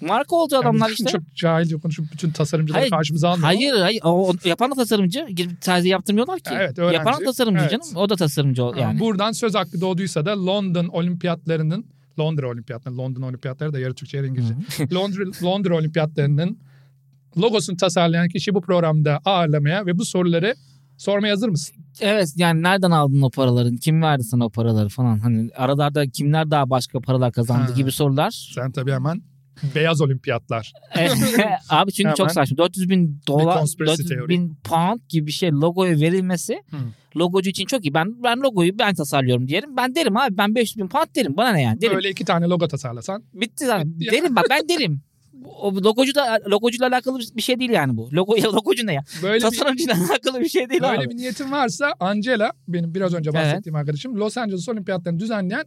S2: Marka oldu (laughs) adamlar
S3: yani
S2: işte.
S3: Çok cahilce konuşup bütün tasarımcıları
S2: Hayır,
S3: karşımıza almıyor.
S2: Hayır hayır. O, o- yapan da tasarımcı. Gidip Sadece yaptırmıyorlar ki.
S3: Evet, öğrenci.
S2: Yapan da tasarımcı
S3: Evet.
S2: canım. O da tasarımcı ol-
S3: Ama
S2: yani.
S3: Buradan söz hakkı doğduysa da London olimpiyatlarının Londra olimpiyatları, London olimpiyatları da yarı Türkçe yarı İngilizce. (laughs) Londra, Londra olimpiyatlarının logosunu tasarlayan kişi bu programda ağırlamaya ve bu soruları sormaya hazır mısın?
S2: Evet yani nereden aldın o paraları? Kim verdi sana o paraları falan? Hani aralarda kimler daha başka paralar kazandı
S3: Ha.
S2: gibi sorular. E,
S3: Sen tabii hemen beyaz olimpiyatlar.
S2: (laughs) Abi çünkü
S3: Hemen.
S2: çok saçma. 400 bin dolar,
S3: conspiracy
S2: 400
S3: teori.
S2: bin pound gibi bir şey logoya verilmesi
S3: Hı.
S2: logocu için çok iyi. Ben ben logoyu ben tasarlıyorum diyelim. Ben derim abi ben 500 bin pound derim. Bana ne yani derim.
S3: Böyle iki tane logo tasarlasan.
S2: Bitti zaten.
S3: Bitti ya.
S2: Derim bak ben derim. O logocu da logocuyla alakalı bir şey değil yani bu. Logo logocu ne ya?
S3: Böyle bir,
S2: Tasarımcıyla (laughs) alakalı bir şey değil
S3: böyle
S2: abi.
S3: bir niyetin varsa Angela benim biraz önce bahsettiğim arkadaşım Los Angeles olimpiyatlarını düzenleyen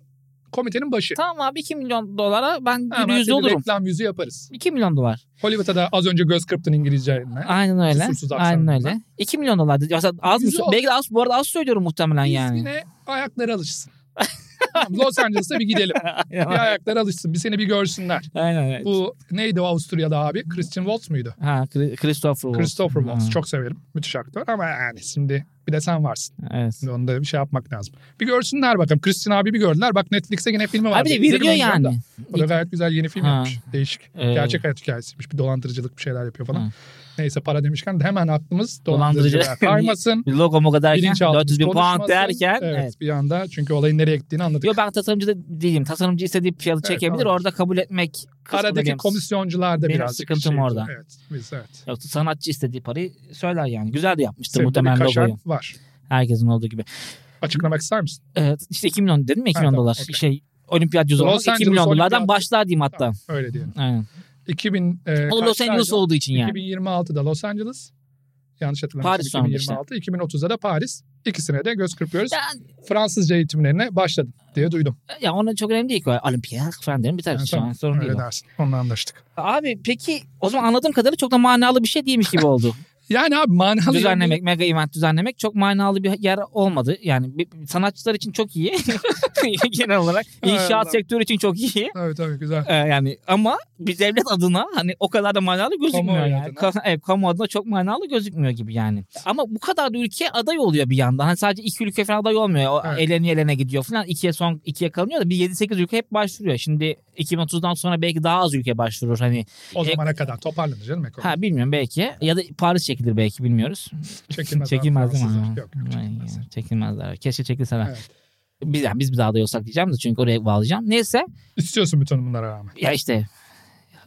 S3: komitenin başı.
S2: Tamam abi 2 milyon dolara ben
S3: Hemen
S2: gülü yüzlü
S3: seni
S2: olurum.
S3: Reklam yüzü yaparız.
S2: 2 milyon dolar.
S3: Hollywood'a da az önce göz kırptın İngilizce yayınına.
S2: Aynen öyle.
S3: Kusursuz
S2: Aynen
S3: aksanımla.
S2: öyle. 2 milyon dolar. dedi. Aslında az mı?
S3: Yüzü
S2: sö- Belki de az. Bu arada az söylüyorum muhtemelen
S3: Biz
S2: yani.
S3: yine ayaklara alışsın. Tamam, Los Angeles'a bir gidelim.
S2: (laughs)
S3: Bir
S2: Aynen
S3: ayaklara alışsın. Bir seni bir görsünler.
S2: öyle.
S3: Bu neydi o Avusturya'da abi? Christian Waltz muydu?
S2: Ha, Chri- Christopher Walken.
S3: Christopher Waltz.
S2: Ha,
S3: Çok severim. Müthiş aktör ama yani şimdi bir de sen varsın.
S2: Evet.
S3: Şimdi Onu da bir şey yapmak lazım. Bir görsünler bakalım. Christian abi bir gördüler. Bak Netflix'te yine filmi var.
S2: Abi de
S3: İzledim
S2: veriliyor
S3: onu ben de.
S2: yani.
S3: O da gayet güzel yeni film
S2: Ha.
S3: yapmış. Değişik.
S2: Ee,
S3: Gerçek hayat hikayesiymiş. Bir dolandırıcılık bir şeyler yapıyor falan.
S2: Ha.
S3: Neyse para demişken de hemen aklımız
S2: Dolandırıcı.
S3: dolandırıcılığa kaymasın.
S2: Bir logo mogo (laughs) derken
S3: Bilinçaltımız
S2: 400 bin pound
S3: konuşmasın.
S2: derken.
S3: Evet,
S2: Evet.
S3: bir anda çünkü olayın nereye gittiğini anladık.
S2: Yo ben tasarımcı da değilim. Tasarımcı istediği fiyatı
S3: Evet,
S2: çekebilir.
S3: tamam.
S2: Orada kabul etmek kısmı da
S3: Aradaki
S2: benim-
S3: komisyoncular da
S2: benim
S3: birazcık
S2: sıkıntım
S3: şey-
S2: orada.
S3: Evet, biz evet.
S2: Yoksa sanatçı istediği parayı söyler yani. Güzel de yapmıştır
S3: Senin de
S2: muhtemelen
S3: bir kaşar
S2: logoyu.
S3: var.
S2: Herkesin olduğu gibi.
S3: Açıklamak ister misin?
S2: Evet, işte 2 milyon dedim mi? 2
S3: Ha,
S2: milyon
S3: tamam,
S2: dolar.
S3: okey.
S2: Şey olimpiyat yüzü
S3: Los
S2: olarak 2
S3: Angeles
S2: milyon dolardan
S3: olimpiyatı.
S2: başlar diyeyim hatta.
S3: Öyle diyelim.
S2: Aynen.
S3: 2000 e,
S2: O da Los
S3: kaçtaydı?
S2: Angeles olduğu için yani.
S3: 2026'da Los Angeles. Yanlış hatırlamıyorsam
S2: Paris sonunda
S3: 2026. 2030'da da Paris. İkisine de göz kırpıyoruz.
S2: Ya,
S3: Fransızca eğitimlerine başladım diye duydum.
S2: ya ona çok önemli değil ki. Olimpiyat falan derim biter.
S3: Yani
S2: Şu an
S3: tamam,
S2: şey sorun değil.
S3: Öyle
S2: o.
S3: dersin. Onunla anlaştık.
S2: Abi peki o zaman anladığım kadarıyla çok da manalı bir şey değilmiş gibi
S3: (laughs)
S2: oldu.
S3: Yani abi manalı
S2: düzenlemek, mega event düzenlemek çok manalı bir yer olmadı. Yani bir- sanatçılar için çok iyi. (laughs) Genel olarak.
S3: Hay
S2: inşaat
S3: Allah.
S2: sektörü için çok iyi.
S3: Tabii tabii güzel.
S2: Ee, yani ama bir devlet adına hani o kadar da manalı gözükmüyor
S3: Kamuoyu
S2: yani.
S3: adına.
S2: Ka- evet, kamu adına çok manalı gözükmüyor gibi yani. Ama bu kadar da ülke aday oluyor bir yandan. Hani sadece iki ülke falan aday olmuyor. O
S3: Evet.
S2: eleni elene gidiyor falan. İkiye son ikiye kalınıyor da bir 7-8 ülke hep başvuruyor. Şimdi 2030'dan sonra belki daha az ülke başvurur. Hani
S3: O zamana kadar toparlanır canım ekonomi.
S2: ha bilmiyorum belki ya da Paris çekilir belki bilmiyoruz.
S3: Çekilmez. abi
S2: Çekilmez değil mi?
S3: Fransızlar.
S2: Ha.
S3: Yok yok
S2: Vay
S3: çekilmez.
S2: ya, Çekilmezler. Keşke çekilseler.
S3: Evet.
S2: Biz, yani biz bir daha da yasaklayacağım da çünkü oraya bağlayacağım. Neyse
S3: İstiyorsun bütün bunlara rağmen.
S2: ya işte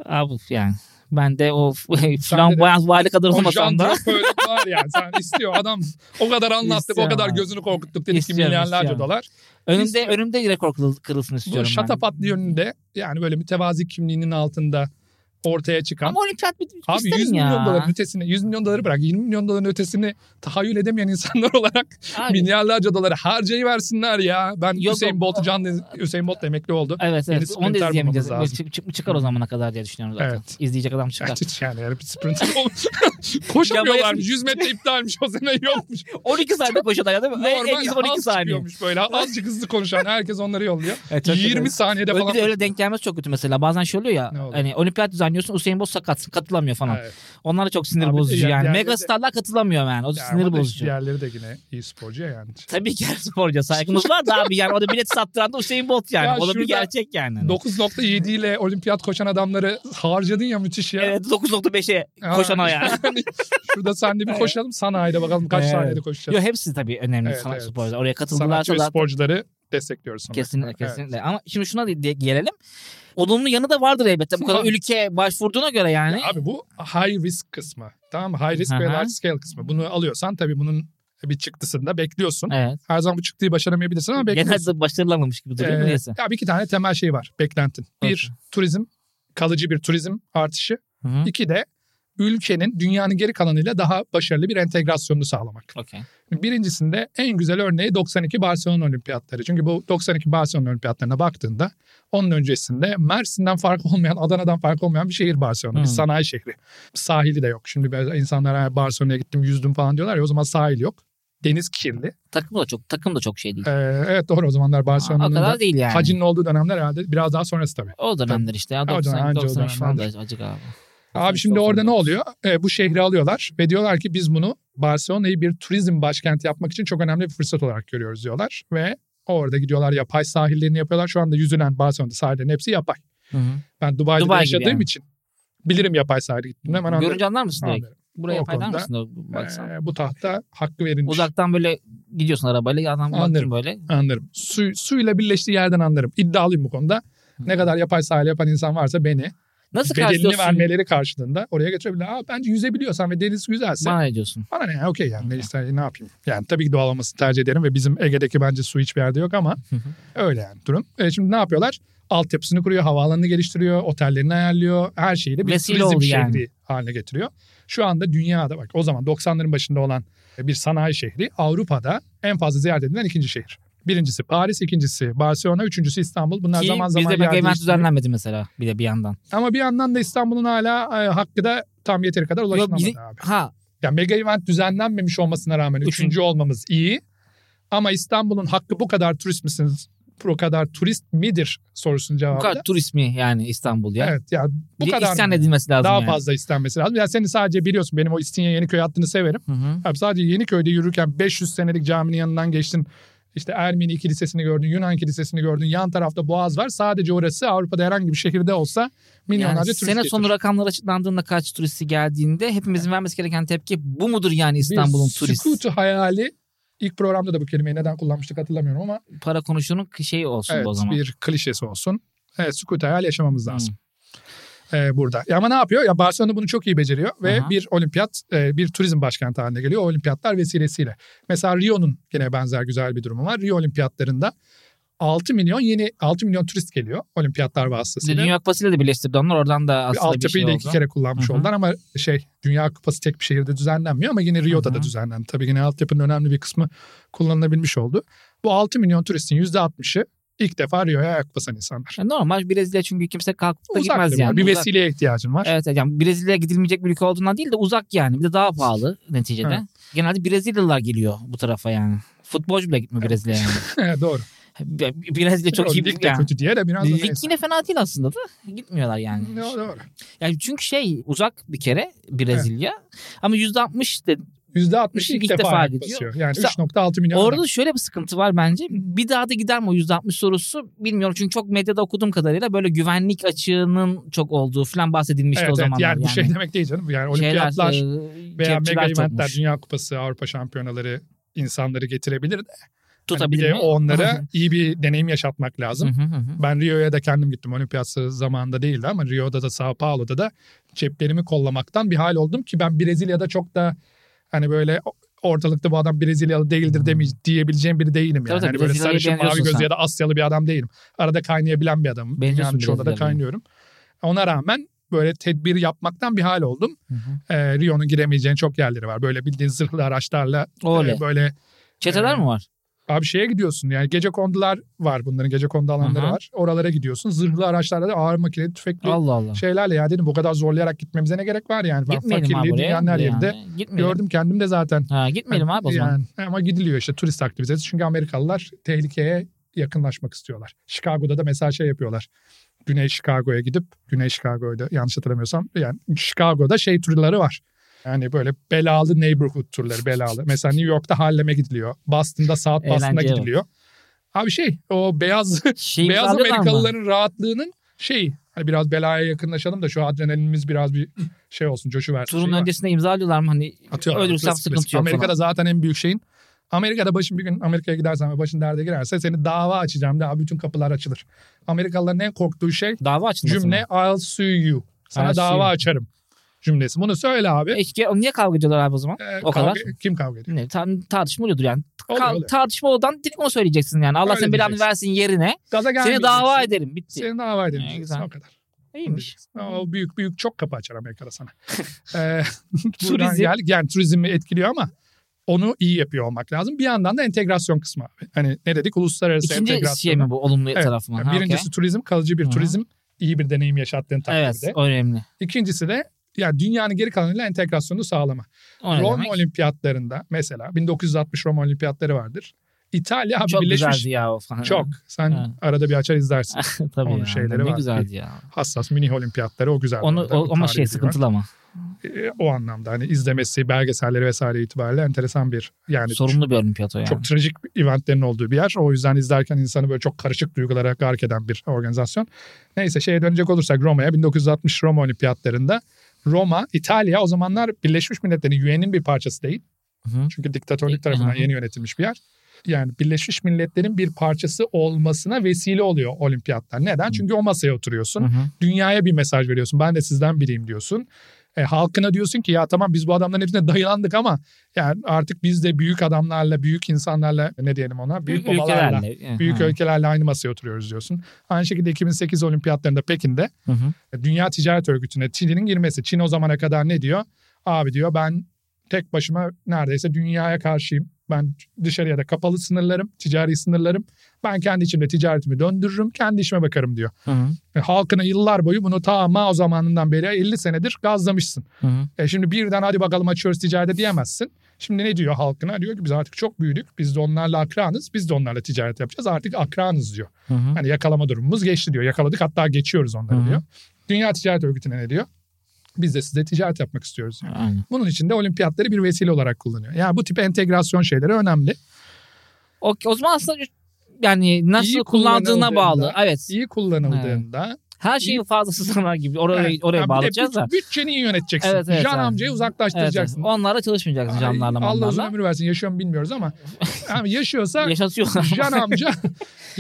S2: abi yani ben de o (laughs)
S3: de-
S2: flamboyant vali kadar
S3: O Jean
S2: olmasam da
S3: Drapeau'luk var yani. Sen istiyor adam o kadar anlattık o
S2: İstiyor
S3: kadar
S2: abi.
S3: gözünü korkuttuk dedik ki
S2: İstiyor,
S3: milyarlarca
S2: istiyor.
S3: dolar.
S2: önümde önümde rekor kırıl- kırılsın
S3: Bu
S2: istiyorum ben.
S3: şatafatlı yönünde yani böyle mütevazi kimliğinin altında ortaya çıkan.
S2: Ama olimpiyat bitmek
S3: Abi 100
S2: isterim ya.
S3: milyon doların ötesini 100 milyon doları bırak 20 milyon doların ötesini tahayyül edemeyen insanlar (laughs) olarak
S2: Abi,
S3: milyarlarca doları harcayıversinler ya. Ben
S2: Yok,
S3: Hüseyin Bolt'u can Hüseyin Bolt da emekli oldu. (laughs)
S2: Evet evet
S3: Yeni
S2: onu
S3: sprinter
S2: da izleyemeyeceğiz.
S3: bulmamız lazım.
S2: Çık, çık- çıkar o zamana kadar diye düşünüyorum zaten.
S3: Evet.
S2: İzleyecek adam çıkar.
S3: Yani yani bir sprinter (laughs) koşamıyorlarmış. 100 metre iptalmiş
S2: (laughs)
S3: o sene yokmuş.
S2: 12 saniye koşuyor ya değil mi? En- en
S3: Normal
S2: az
S3: az
S2: 12 saniye.
S3: çıkıyormuş böyle. Azıcık hızlı konuşan herkes
S2: (laughs)
S3: onları yolluyor.
S2: Evet, çok
S3: 20
S2: kötü.
S3: saniyede
S2: Öyle,
S3: falan.
S2: bir de öyle denk gelmesi çok kötü mesela. Bazen şey oluyor ya.
S3: Ne oluyor?
S2: Hani olimpiyat düzenliyorsun Usain Bolt sakat katılamıyor falan.
S3: Evet.
S2: Onlar da çok sinir
S3: Abi,
S2: bozucu
S3: yani-
S2: yani.
S3: yani-
S2: Mega starlar katılamıyor yani. O da
S3: Ya
S2: sinir
S3: ama da
S2: bozucu.
S3: Diğerleri de yine iyi sporcu ya yani.
S2: Tabii ki her sporcuya saygımız var da abi yani o da bilet sattıran da Usain Bolt yani.
S3: Ya
S2: o da bir
S3: şurada
S2: gerçek yani.
S3: 9.7 ile olimpiyat koşan adamları harcadın ya müthiş ya.
S2: Evet 9.5'e
S3: Ha,
S2: koşan ayağı.
S3: yani Şurada sen de bir koşalım sanayide bakalım kaç
S2: Evet. (laughs)
S3: saniyede
S2: Yo
S3: koşacağız.
S2: hepsi tabii önemli
S3: Evet,
S2: sanat
S3: evet.
S2: sporcular. Oraya
S3: Sanatçı
S2: katıldılarsa
S3: ve
S2: da
S3: sporcuları destekliyoruz. sonuna
S2: kesinlikle
S3: kadar. Evet.
S2: kesinlikle. Ama şimdi şuna da de- gelelim. Olumlu yanı da vardır elbette. Bu
S3: (laughs)
S2: kadar ülke başvurduğuna göre yani.
S3: Abi bu high risk kısmı. Tamam mı? High risk ve
S2: Aha.
S3: large scale kısmı. Bunu alıyorsan tabii bunun bir çıktısında bekliyorsun.
S2: Evet.
S3: Her zaman bu çıktıyı başaramayabilirsin ama bekliyorsun.
S2: Genelde başarılamamış gibi duruyor.
S3: Ee,
S2: Neyse.
S3: abi iki tane temel şey var beklentin. Bir turizm, kalıcı bir turizm artışı.
S2: Hı hı.
S3: İki de ülkenin dünyanın geri kalanıyla daha başarılı bir entegrasyonunu sağlamak.
S2: Okey.
S3: Birincisinde en güzel örneği 92 Barcelona Olimpiyatları. Çünkü bu 92 Barcelona Olimpiyatlarına baktığında onun öncesinde Mersin'den farkı olmayan, Adana'dan farkı olmayan bir şehir Barcelona. Bir
S2: Hmm.
S3: sanayi şehri. Sahili de yok. Şimdi biraz insanlar "Ha, Barcelona'ya gittim yüzdüm falan diyorlar ya o zaman sahil yok. Deniz kirli.
S2: Takım da çok takım da çok şey değil.
S3: Ee, evet doğru o zamanlar
S2: o
S3: Barcelona'nın da
S2: kadar değil yani.
S3: hacinin olduğu dönemler herhalde biraz daha sonrası tabii.
S2: O dönemler işte. Ya,
S3: Ha, o
S2: 90,
S3: dönem, anca o
S2: 93 falan da acık abi.
S3: Abi şimdi
S2: 90,
S3: orada ne oluyor? Ee, bu şehri alıyorlar ve diyorlar ki biz bunu Barcelona'yı bir turizm başkenti yapmak için çok önemli bir fırsat olarak görüyoruz diyorlar. Ve orada gidiyorlar yapay sahillerini yapıyorlar. Şu anda yüzülen Barcelona'da sahillerin hepsi yapay.
S2: Hı hı.
S3: Ben Dubai'de
S2: Dubai gibi
S3: yaşadığım
S2: yani.
S3: için bilirim yapay sahil gittim. Hemen anladım.
S2: Görünce anlar mısın direkt?
S3: Anladım.
S2: Buraya
S3: O
S2: paylar
S3: konuda,
S2: mısın? o- Baksan.
S3: Ee, bu tahta hakkı verilmiş.
S2: Uzaktan böyle gidiyorsun arabayla adam
S3: Anlarım.
S2: baktın böyle.
S3: Anlarım. Su, suyla birleştiği yerden anlarım. İddialıyım bu konuda. Ne kadar yapay sahil yapan insan varsa beni
S2: Nasıl
S3: bedelini
S2: karşılıyorsun?
S3: vermeleri karşılığında oraya götürebilir. Aa, bence yüzebiliyorsan ve deniz güzelse
S2: Bana ne diyorsun?
S3: Bana ne okey yani ne, ister, ne yapayım. Yani tabii ki doğal olmasını tercih ederim ve bizim Ege'deki bence su hiçbir yerde yok ama
S2: Hı hı.
S3: öyle yani durum. E, şimdi ne yapıyorlar? Altyapısını kuruyor, havaalanını geliştiriyor, otellerini ayarlıyor. Her şeyiyle bir
S2: Vesile
S3: turizm
S2: oldu
S3: şehri
S2: yani.
S3: haline getiriyor. Şu anda dünyada bak o zaman 90'ların başında olan bir sanayi şehri Avrupa'da en fazla ziyaret edilen ikinci şehir. Birincisi Paris, ikincisi Barcelona, üçüncüsü İstanbul. Bunlar
S2: Ki
S3: zaman zaman
S2: bizde
S3: yer
S2: mega event
S3: değiştiriyor.
S2: düzenlenmedi mesela bir de bir yandan.
S3: Ama bir yandan da İstanbul'un hala e, hakkı da tam yeteri kadar
S2: Yok,
S3: ulaşılamadı
S2: bizim-
S3: abi.
S2: ha
S3: Ya mega event düzenlenmemiş olmasına rağmen
S2: Üçün-
S3: üçüncü olmamız iyi. Ama İstanbul'un hakkı bu kadar turist misiniz? Bu kadar turist midir sorusunun
S2: bu
S3: cevabı.
S2: kadar
S3: da-
S2: turist mi yani İstanbul ya?
S3: Evet ya bu
S2: bir de
S3: kadar
S2: isyan
S3: mı?
S2: edilmesi lazım
S3: daha
S2: yani.
S3: fazla istenmesi lazım. Ya seni sadece biliyorsun benim o İstinye Yeniköy hattını severim.
S2: Hı hı.
S3: Abi sadece Yeniköy'de yürürken 500 senelik caminin yanından geçtin. İşte Ermeni kilisesini gördün, Yunan kilisesini gördün. Yan tarafta Boğaz var. Sadece orası Avrupa'da herhangi bir şehirde olsa milyonlarca
S2: Yani
S3: turist
S2: sene
S3: getirir.
S2: sonu rakamlar açıklandığında kaç turisti geldiğinde hepimizin vermesi gereken tepki bu mudur yani
S3: Bir
S2: İstanbul'un turist?
S3: Sükutu hayali ilk programda da bu kelimeyi neden kullanmıştık hatırlamıyorum ama
S2: Para konuşunun şey olsun
S3: Evet
S2: o zaman.
S3: bir klişesi olsun. Evet sükut hayal yaşamamız
S2: Hı.
S3: lazım. Ee, burada. Ya ama ne yapıyor? Ya Barcelona bunu çok iyi beceriyor ve
S2: Aha.
S3: bir olimpiyat e, bir turizm başkenti haline geliyor. O olimpiyatlar vesilesiyle. Mesela Rio'nun yine benzer güzel bir durumu var. Rio olimpiyatlarında 6 milyon yeni 6 milyon turist geliyor olimpiyatlar
S2: Bir de
S3: vasıtasıyla.
S2: Dünya Kupası'yla da birleştirdi onlar oradan da
S3: Bir
S2: aslında bir
S3: altyapıyı
S2: şey
S3: da
S2: oldu.
S3: iki kere kullanmış
S2: Hı hı.
S3: oldular ama şey Dünya Kupası tek bir şehirde düzenlenmiyor ama yine Rio'da
S2: Hı
S3: da
S2: hı.
S3: düzenlendi. Tabii yine altyapının önemli bir kısmı kullanılabilmiş oldu. Bu 6 milyon turistin %60'ı ilk defa Rio'ya ayak basan insanlar.
S2: Yani normal Brezilya çünkü kimse kalkıp da
S3: Uzak
S2: gitmez
S3: tabii
S2: yani.
S3: var. Bir
S2: Uzak.
S3: vesileye ihtiyacın var.
S2: Evet evet. yani Brezilya'ya gidilmeyecek bir ülke olduğundan değil de uzak yani. Bir de daha pahalı neticede.
S3: Evet.
S2: Genelde Brezilyalılar geliyor bu tarafa yani. Futbolcu bile gitmiyor Brezilya'ya yani.
S3: (laughs) Doğru.
S2: Bre- Brezilya
S3: (laughs)
S2: çok iyi
S3: Lig de
S2: yani.
S3: kötü diye de biraz da
S2: Lig
S3: neyse.
S2: yine fena değil aslında da gitmiyorlar yani.
S3: Doğru, doğru.
S2: Yani çünkü şey uzak bir kere Brezilya ama %60 de
S3: %60 ilk,
S2: İlk
S3: defa,
S2: defa
S3: ayak
S2: gidiyor.
S3: basıyor. Yani
S2: Mesela
S3: 3.6 milyon.
S2: Orada
S3: adam.
S2: da şöyle bir sıkıntı var bence. Bir daha da gider mi o %60 sorusu bilmiyorum. Çünkü çok medyada okuduğum kadarıyla böyle güvenlik açığının çok olduğu falan bahsedilmişti
S3: evet,
S2: o
S3: evet.
S2: zamanlar.
S3: Yani bu şey demek değil canım. Yani olimpiyatlar
S2: Şeyler, e,
S3: veya
S2: kepçeler
S3: mega eventler,
S2: topmuş.
S3: dünya kupası, Avrupa şampiyonaları insanları getirebilir de Hani bir
S2: tutabilir
S3: de
S2: mi? (laughs)
S3: onlara iyi bir deneyim yaşatmak lazım.
S2: Hı hı hı hı.
S3: Ben Rio'ya da kendim gittim. Olimpiyatı zamanında değildi ama Rio'da da Sao Paulo'da da ceplerimi kollamaktan bir hal oldum ki ben Brezilya'da çok da hani böyle ortalıkta bu adam Brezilyalı değildir deme, diyebileceğim biri değilim
S2: Hmm. Tabii
S3: yani.
S2: tabii,
S3: hani böyle
S2: Brezilya'yı
S3: sarışın mavi
S2: beğeniyorsun
S3: gözlü
S2: sen.
S3: ya da Asyalı bir adam değilim. Arada kaynayabilen bir adamım.
S2: Beğeniyorsun
S3: Dünyanın çoğunda da
S2: Brezilyalı'yı.
S3: kaynıyorum. Ona rağmen böyle tedbir yapmaktan bir hal oldum.
S2: Hı hı.
S3: Ee, Rio'nun giremeyeceğin çok yerleri var. Böyle bildiğin zırhlı araçlarla
S2: Oley.
S3: e, böyle
S2: Çeteler mi var?
S3: Abi şeye gidiyorsun yani gece kondular var bunların gece kondu alanları
S2: Aha.
S3: var. Oralara gidiyorsun. Zırhlı araçlarla da ağır makineli tüfekli
S2: Allah Allah.
S3: şeylerle ya dedim bu kadar zorlayarak gitmemize ne gerek var yani. Ben
S2: şey Gitmeyelim abi
S3: fakirliği
S2: oraya.
S3: dünyanın her
S2: Yani
S3: yerinde
S2: Gitmeyelim.
S3: gördüm kendim de zaten.
S2: Ha, gitmeyelim abi o zaman.
S3: Yani, ama gidiliyor işte turist aktivitesi çünkü Amerikalılar tehlikeye yakınlaşmak istiyorlar. Chicago'da da mesela şey yapıyorlar. Güney Chicago'ya gidip Güney Chicago'da yanlış hatırlamıyorsam yani Chicago'da şey turları var. Yani böyle belalı neighborhood turları belalı. Mesela New York'ta Harlem'e gidiliyor. Boston'da South Boston'a
S2: Eğlenceye bak.
S3: gidiliyor. Abi şey o beyaz
S2: (laughs) Şey
S3: (laughs) beyaz
S2: imzalıyorlar mı?
S3: Amerikalıların rahatlığının şeyi. Hani biraz belaya yakınlaşalım da şu adrenalinimiz biraz bir şey olsun coşu versin.
S2: Turun öncesinde imzalıyorlar mı? Hani
S3: Atıyorum.
S2: ölürsem sıkıntı yok.
S3: Amerika'da
S2: falan.
S3: zaten en büyük şeyin Amerika'da başın bir gün Amerika'ya gidersen ve başın derde girerse seni dava açacağım daha bütün kapılar açılır. Amerikalıların en korktuğu şey
S2: Dava açılmasın.
S3: cümle I'll sue you. Sana
S2: I'll sue
S3: dava
S2: you.
S3: açarım cümlesi. Bunu söyle abi.
S2: Eşke, niye kavga ediyorlar abi o
S3: (laughs)
S2: zaman?
S3: Ee,
S2: E, o kadar.
S3: kavga- Kim kavga ediyor?
S2: Ne, tar- tartışma oluyordur yani.
S3: Oluyor,
S2: Ka-
S3: oluyor.
S2: Tartışma olan direkt onu söyleyeceksin yani. Allah
S3: Öyle
S2: senin belanı
S3: diyeceksin.
S2: versin yerine.
S3: Gaza
S2: Seni
S3: gelmeyeceksin.
S2: dava ederim. Bitti.
S3: Seni dava ederim.
S2: Ha,
S3: diyeceksin.
S2: güzel.
S3: O kadar.
S2: İyiymiş.
S3: O büyük büyük çok kapı açar
S2: (laughs)
S3: Amerika'da sana. ee,
S2: Turizm.
S3: (laughs) buradan geldik. Yani turizmi etkiliyor ama onu iyi yapıyor olmak lazım. Bir yandan da entegrasyon kısmı abi. Hani ne dedik? Uluslararası
S2: İkinci
S3: entegrasyon.
S2: şey mi bu olumlu
S3: Evet.
S2: tarafı mı?
S3: Yani
S2: Ha, okey.
S3: birincisi turizm, kalıcı bir
S2: Hı hı.
S3: turizm iyi bir deneyim yaşattığın
S2: Evet
S3: takdirde.
S2: önemli.
S3: İkincisi de yani dünyanın geri kalanıyla entegrasyonu sağlama.
S2: O ne
S3: Roma
S2: demek?
S3: olimpiyatlarında mesela 1960 Roma olimpiyatları vardır. İtalya abi
S2: Çok
S3: birleşmiş.
S2: güzeldi ya o falan.
S3: Çok. Sen
S2: Ha.
S3: arada bir açar izlersin.
S2: (laughs)
S3: (laughs)
S2: Tabii
S3: Onun
S2: ya,
S3: şeyleri
S2: ne
S3: var.
S2: güzeldi ya.
S3: Hassas mini olimpiyatları o güzel.
S2: Onu,
S3: orada,
S2: o, ama
S3: tarihi
S2: şey
S3: bir var.
S2: sıkıntılı ama.
S3: E, o anlamda hani izlemesi, belgeselleri vesaire itibariyle enteresan bir yani
S2: Sorumlu bir olimpiyat o yani.
S3: Hani çok trajik eventlerin olduğu bir yer. O yüzden izlerken insanı böyle çok karışık duygulara gark eden bir organizasyon. Neyse şeye dönecek olursak Roma'ya 1960 Roma Olimpiyatlarında Roma, İtalya o zamanlar Birleşmiş Milletler'in UN'in bir parçası değil.
S2: Hı.
S3: Çünkü diktatörlük
S2: Hı.
S3: tarafından yeni yönetilmiş bir yer. Yani Birleşmiş Milletler'in bir parçası olmasına vesile oluyor olimpiyatlar. Neden?
S2: Hı.
S3: Çünkü o masaya oturuyorsun
S2: Hı hı.
S3: dünyaya bir mesaj veriyorsun. Ben de sizden biriyim diyorsun. E, halkına diyorsun ki ya tamam biz bu adamların hepsine dayılandık ama yani artık biz de büyük adamlarla, büyük insanlarla ne diyelim ona? Büyük, babalarla,
S2: ülkelerle.
S3: büyük
S2: Hı.
S3: ülkelerle aynı masaya oturuyoruz diyorsun. Aynı şekilde 2008 olimpiyatlarında Pekin'de e,
S2: Hı hı.
S3: Dünya Ticaret Örgütü'ne Çin'in girmesi. Çin o zamana kadar ne diyor? Abi diyor ben tek başıma neredeyse dünyaya karşıyım. Ben dışarıya da kapalı sınırlarım, ticari sınırlarım. Ben kendi içimde ticaretimi döndürürüm, kendi işime bakarım diyor.
S2: Hı hı.
S3: E, halkına yıllar boyu bunu ta Mao zamanından beri 50 senedir gazlamışsın.
S2: Hı hı.
S3: E şimdi birden hadi bakalım açıyoruz ticarete diyemezsin. Şimdi ne diyor halkına? Diyor ki biz artık çok büyüdük. Biz de onlarla akranız. Biz de onlarla ticaret yapacağız. Artık akranız diyor.
S2: Hı hı.
S3: Hani yakalama durumumuz geçti diyor. Yakaladık hatta geçiyoruz onları
S2: Hı hı.
S3: diyor. Dünya Ticaret Örgütü'ne ne diyor? Biz de size ticaret yapmak istiyoruz diyor.
S2: Aynen.
S3: Bunun için de olimpiyatları bir vesile olarak kullanıyor. Yani bu tip entegrasyon şeyleri önemli.
S2: O, o zaman aslında yani nasıl
S3: İyi
S2: kullandığına
S3: kullanıldığında-
S2: bağlı. Evet.
S3: İyi kullanıldığında
S2: Her şeyin fazlası zarar gibi. Oraya,
S3: Evet.
S2: oraya
S3: Yani bir de
S2: bağlayacağız
S3: büt-
S2: da.
S3: Bütçeni iyi yöneteceksin.
S2: Evet, evet,
S3: Can
S2: abi.
S3: amcayı
S2: Evet, evet.
S3: uzaklaştıracaksın.
S2: Onlarla çalışmayacaksın canlarla
S3: Ay, Allah uzun
S2: mallarla.
S3: ömür versin yaşıyor mu
S2: (laughs)
S3: bilmiyoruz ama yani yaşıyorsa
S2: Yaşatıyorlar.
S3: Can amca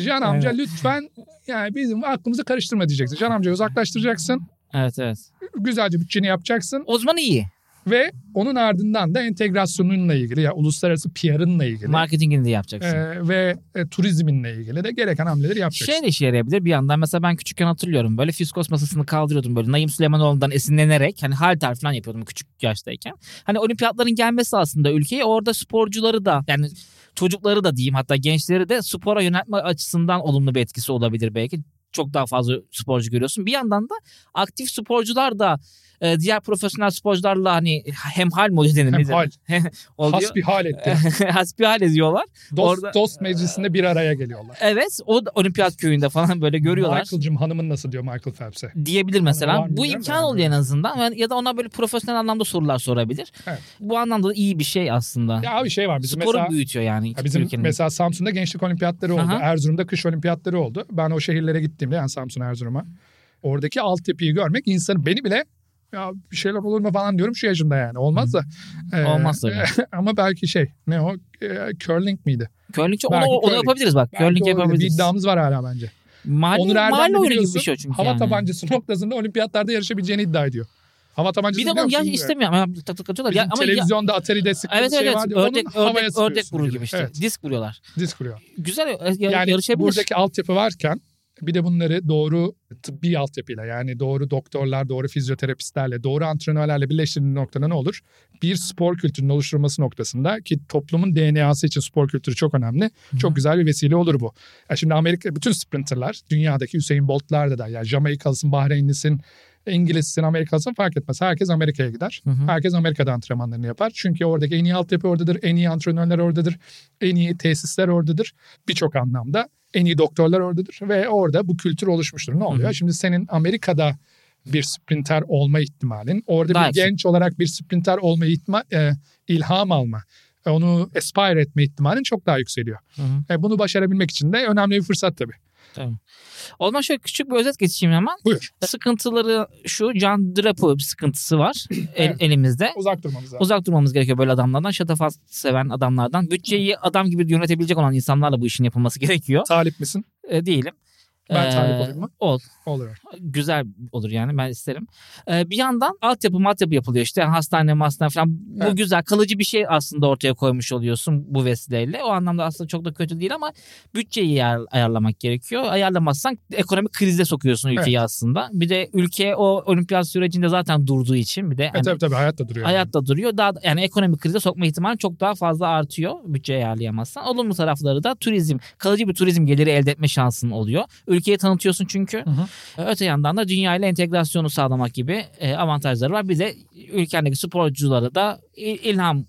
S3: Can amca lütfen yani bizim aklımızı karıştırma diyeceksin. Can amcayı uzaklaştıracaksın.
S2: (laughs) evet evet.
S3: Güzelce bütçeni yapacaksın
S2: O zaman iyi.
S3: ve onun ardından da entegrasyonunla ilgili ya uluslararası PR'ınla ilgili
S2: Marketingini de yapacaksın.
S3: e, ve e, turizminle ilgili de gereken hamleleri yapacaksın.
S2: Şey de işe yarayabilir bir yandan. Mesela ben küçükken hatırlıyorum. Böyle fiskos masasını kaldırıyordum böyle. Naim Süleymanoğlu'ndan esinlenerek. Hani halter falan yapıyordum küçük yaştayken. Hani olimpiyatların gelmesi aslında ülkeye. Orada sporcuları da yani çocukları da diyeyim hatta gençleri de spora yöneltme açısından olumlu bir etkisi olabilir belki. Çok daha fazla sporcu görüyorsun. Bir yandan da aktif sporcular da e, diğer profesyonel sporcularla hani hemhal mi oluyor denir?
S3: Hem hal,
S2: Oluyor. (laughs)
S3: has bir hal etti.
S2: Hasbihal ediyorlar.
S3: Dost,
S2: Orada-
S3: dost meclisinde bir araya geliyorlar.
S2: Evet o da olimpiyat köyünde falan böyle görüyorlar.
S3: Michael'cım hanımın nasıl diyor Michael Phelps'e.
S2: diyebilir mesela.
S3: var mı
S2: Bu
S3: bilmiyorum
S2: imkan
S3: da
S2: oluyor en azından Yani ya da ona böyle profesyonel anlamda sorular sorabilir.
S3: Evet.
S2: Bu anlamda da iyi bir şey aslında.
S3: Ya abi şey var bizim
S2: Sporu
S3: mesela
S2: büyütüyor yani
S3: ya bizim
S2: ülkenin.
S3: mesela Samsun'da gençlik olimpiyatları oldu.
S2: Aha.
S3: Erzurum'da kış olimpiyatları oldu. Ben o şehirlere gittiğimde yani Samsun Erzurum'a oradaki altyapıyı görmek insanı beni bile ya bir şeyler olur mu falan diyorum şu yaşımda yani. Olmaz da. e,
S2: Olmaz tabii.
S3: (laughs) ama belki şey ne o e, curling miydi?
S2: Curling çok- onu,
S3: Belki
S2: onu
S3: curling.
S2: yapabiliriz bak.
S3: Belki
S2: Curling
S3: olabilir. Bir
S2: yapabiliriz.
S3: iddiamız var hala bence.
S2: Mahalle,
S3: Onur Erdem
S2: mahalle
S3: de
S2: oyunu gibi
S3: biliyorsun,
S2: bir şey o çünkü
S3: Hava
S2: yani.
S3: tabancası noktasında olimpiyatlarda yarışabileceğini iddia ediyor. Hava tabancası
S2: Bir de
S3: biliyor
S2: onu ya
S3: musun?
S2: istemiyorum. Ya, tak tak atıyorlar.
S3: Bizim
S2: Ya, ama ya,
S3: televizyonda Atari'de sıktığı
S2: evet
S3: şey
S2: evet
S3: vardı.
S2: evet. Ördek,
S3: Onun havaya
S2: ördek, ördek
S3: sıkıyorsun
S2: vurur gibi işte.
S3: Evet,
S2: Disk vuruyorlar.
S3: disk vuruyor.
S2: Güzel e, ya-
S3: Yani
S2: yarışabilir.
S3: buradaki altyapı varken bir de bunları doğru tıbbi altyapıyla yani doğru doktorlar, doğru fizyoterapistlerle, doğru antrenörlerle birleştirdiğin noktada ne olur? Bir spor kültürünün oluşturulması noktasında ki toplumun DNA'sı için spor kültürü çok önemli. Çok
S2: Hı hı.
S3: güzel bir vesile olur bu. Ya şimdi Amerika bütün sprinterlar dünyadaki Hüseyin Bolt'lar da da yani Jamaikalı'sın, Bahreynlisin, İngilizsin, Amerikalısın fark etmez. Herkes Amerika'ya gider.
S2: Hı hı.
S3: Herkes Amerika'da antrenmanlarını yapar. Çünkü oradaki en iyi altyapı oradadır, en iyi antrenörler oradadır, en iyi tesisler oradadır. Birçok anlamda en iyi doktorlar oradadır ve orada bu kültür oluşmuştur. Ne oluyor?
S2: Hı hı.
S3: Şimdi senin Amerika'da bir sprinter olma ihtimalin, orada
S2: Daha
S3: bir
S2: yüksek.
S3: genç olarak bir sprinter olma ihtima, e, ilham alma, e, onu aspire etme ihtimalin çok daha yükseliyor.
S2: Hı hı.
S3: E, bunu başarabilmek için de önemli bir fırsat tabii.
S2: O zaman şöyle küçük bir özet geçeyim hemen.
S3: Buyur.
S2: Sıkıntıları şu Can Drapo bir sıkıntısı var el-
S3: Evet.
S2: elimizde.
S3: Uzak durmamız lazım.
S2: Uzak durmamız gerekiyor böyle adamlardan. Şatafat seven adamlardan. Bütçeyi adam gibi yönetebilecek olan insanlarla bu işin yapılması (laughs) gerekiyor.
S3: Talip misin?
S2: E, diyelim.
S3: Ben
S2: Ee,
S3: talip olayım mı?
S2: Ol.
S3: Olur.
S2: Güzel olur yani ben isterim. Ee, bir yandan altyapı matyapı yapılıyor işte Yani hastane hastane falan. Bu
S3: Evet.
S2: güzel kalıcı bir şey aslında ortaya koymuş oluyorsun bu vesileyle. O anlamda aslında çok da kötü değil ama bütçeyi ayar- ayarlamak gerekiyor. Ayarlamazsan ekonomik krize sokuyorsun ülkeyi aslında. Bir de ülke o olimpiyat sürecinde zaten durduğu için bir de
S3: E,
S2: hani
S3: tabii tabii hayatta duruyor. yani.
S2: hayatta duruyor. Daha da- yani ekonomik krize sokma ihtimali çok daha fazla artıyor bütçe ayarlayamazsan. Olumlu tarafları da turizm, kalıcı bir turizm geliri elde etme şansın oluyor. Ülkeyi tanıtıyorsun çünkü.
S3: Hı hı.
S2: Ee, Öte yandan da dünya ile entegrasyonu sağlamak gibi e, avantajları var. Bir de ülkendeki sporculara da il- ilham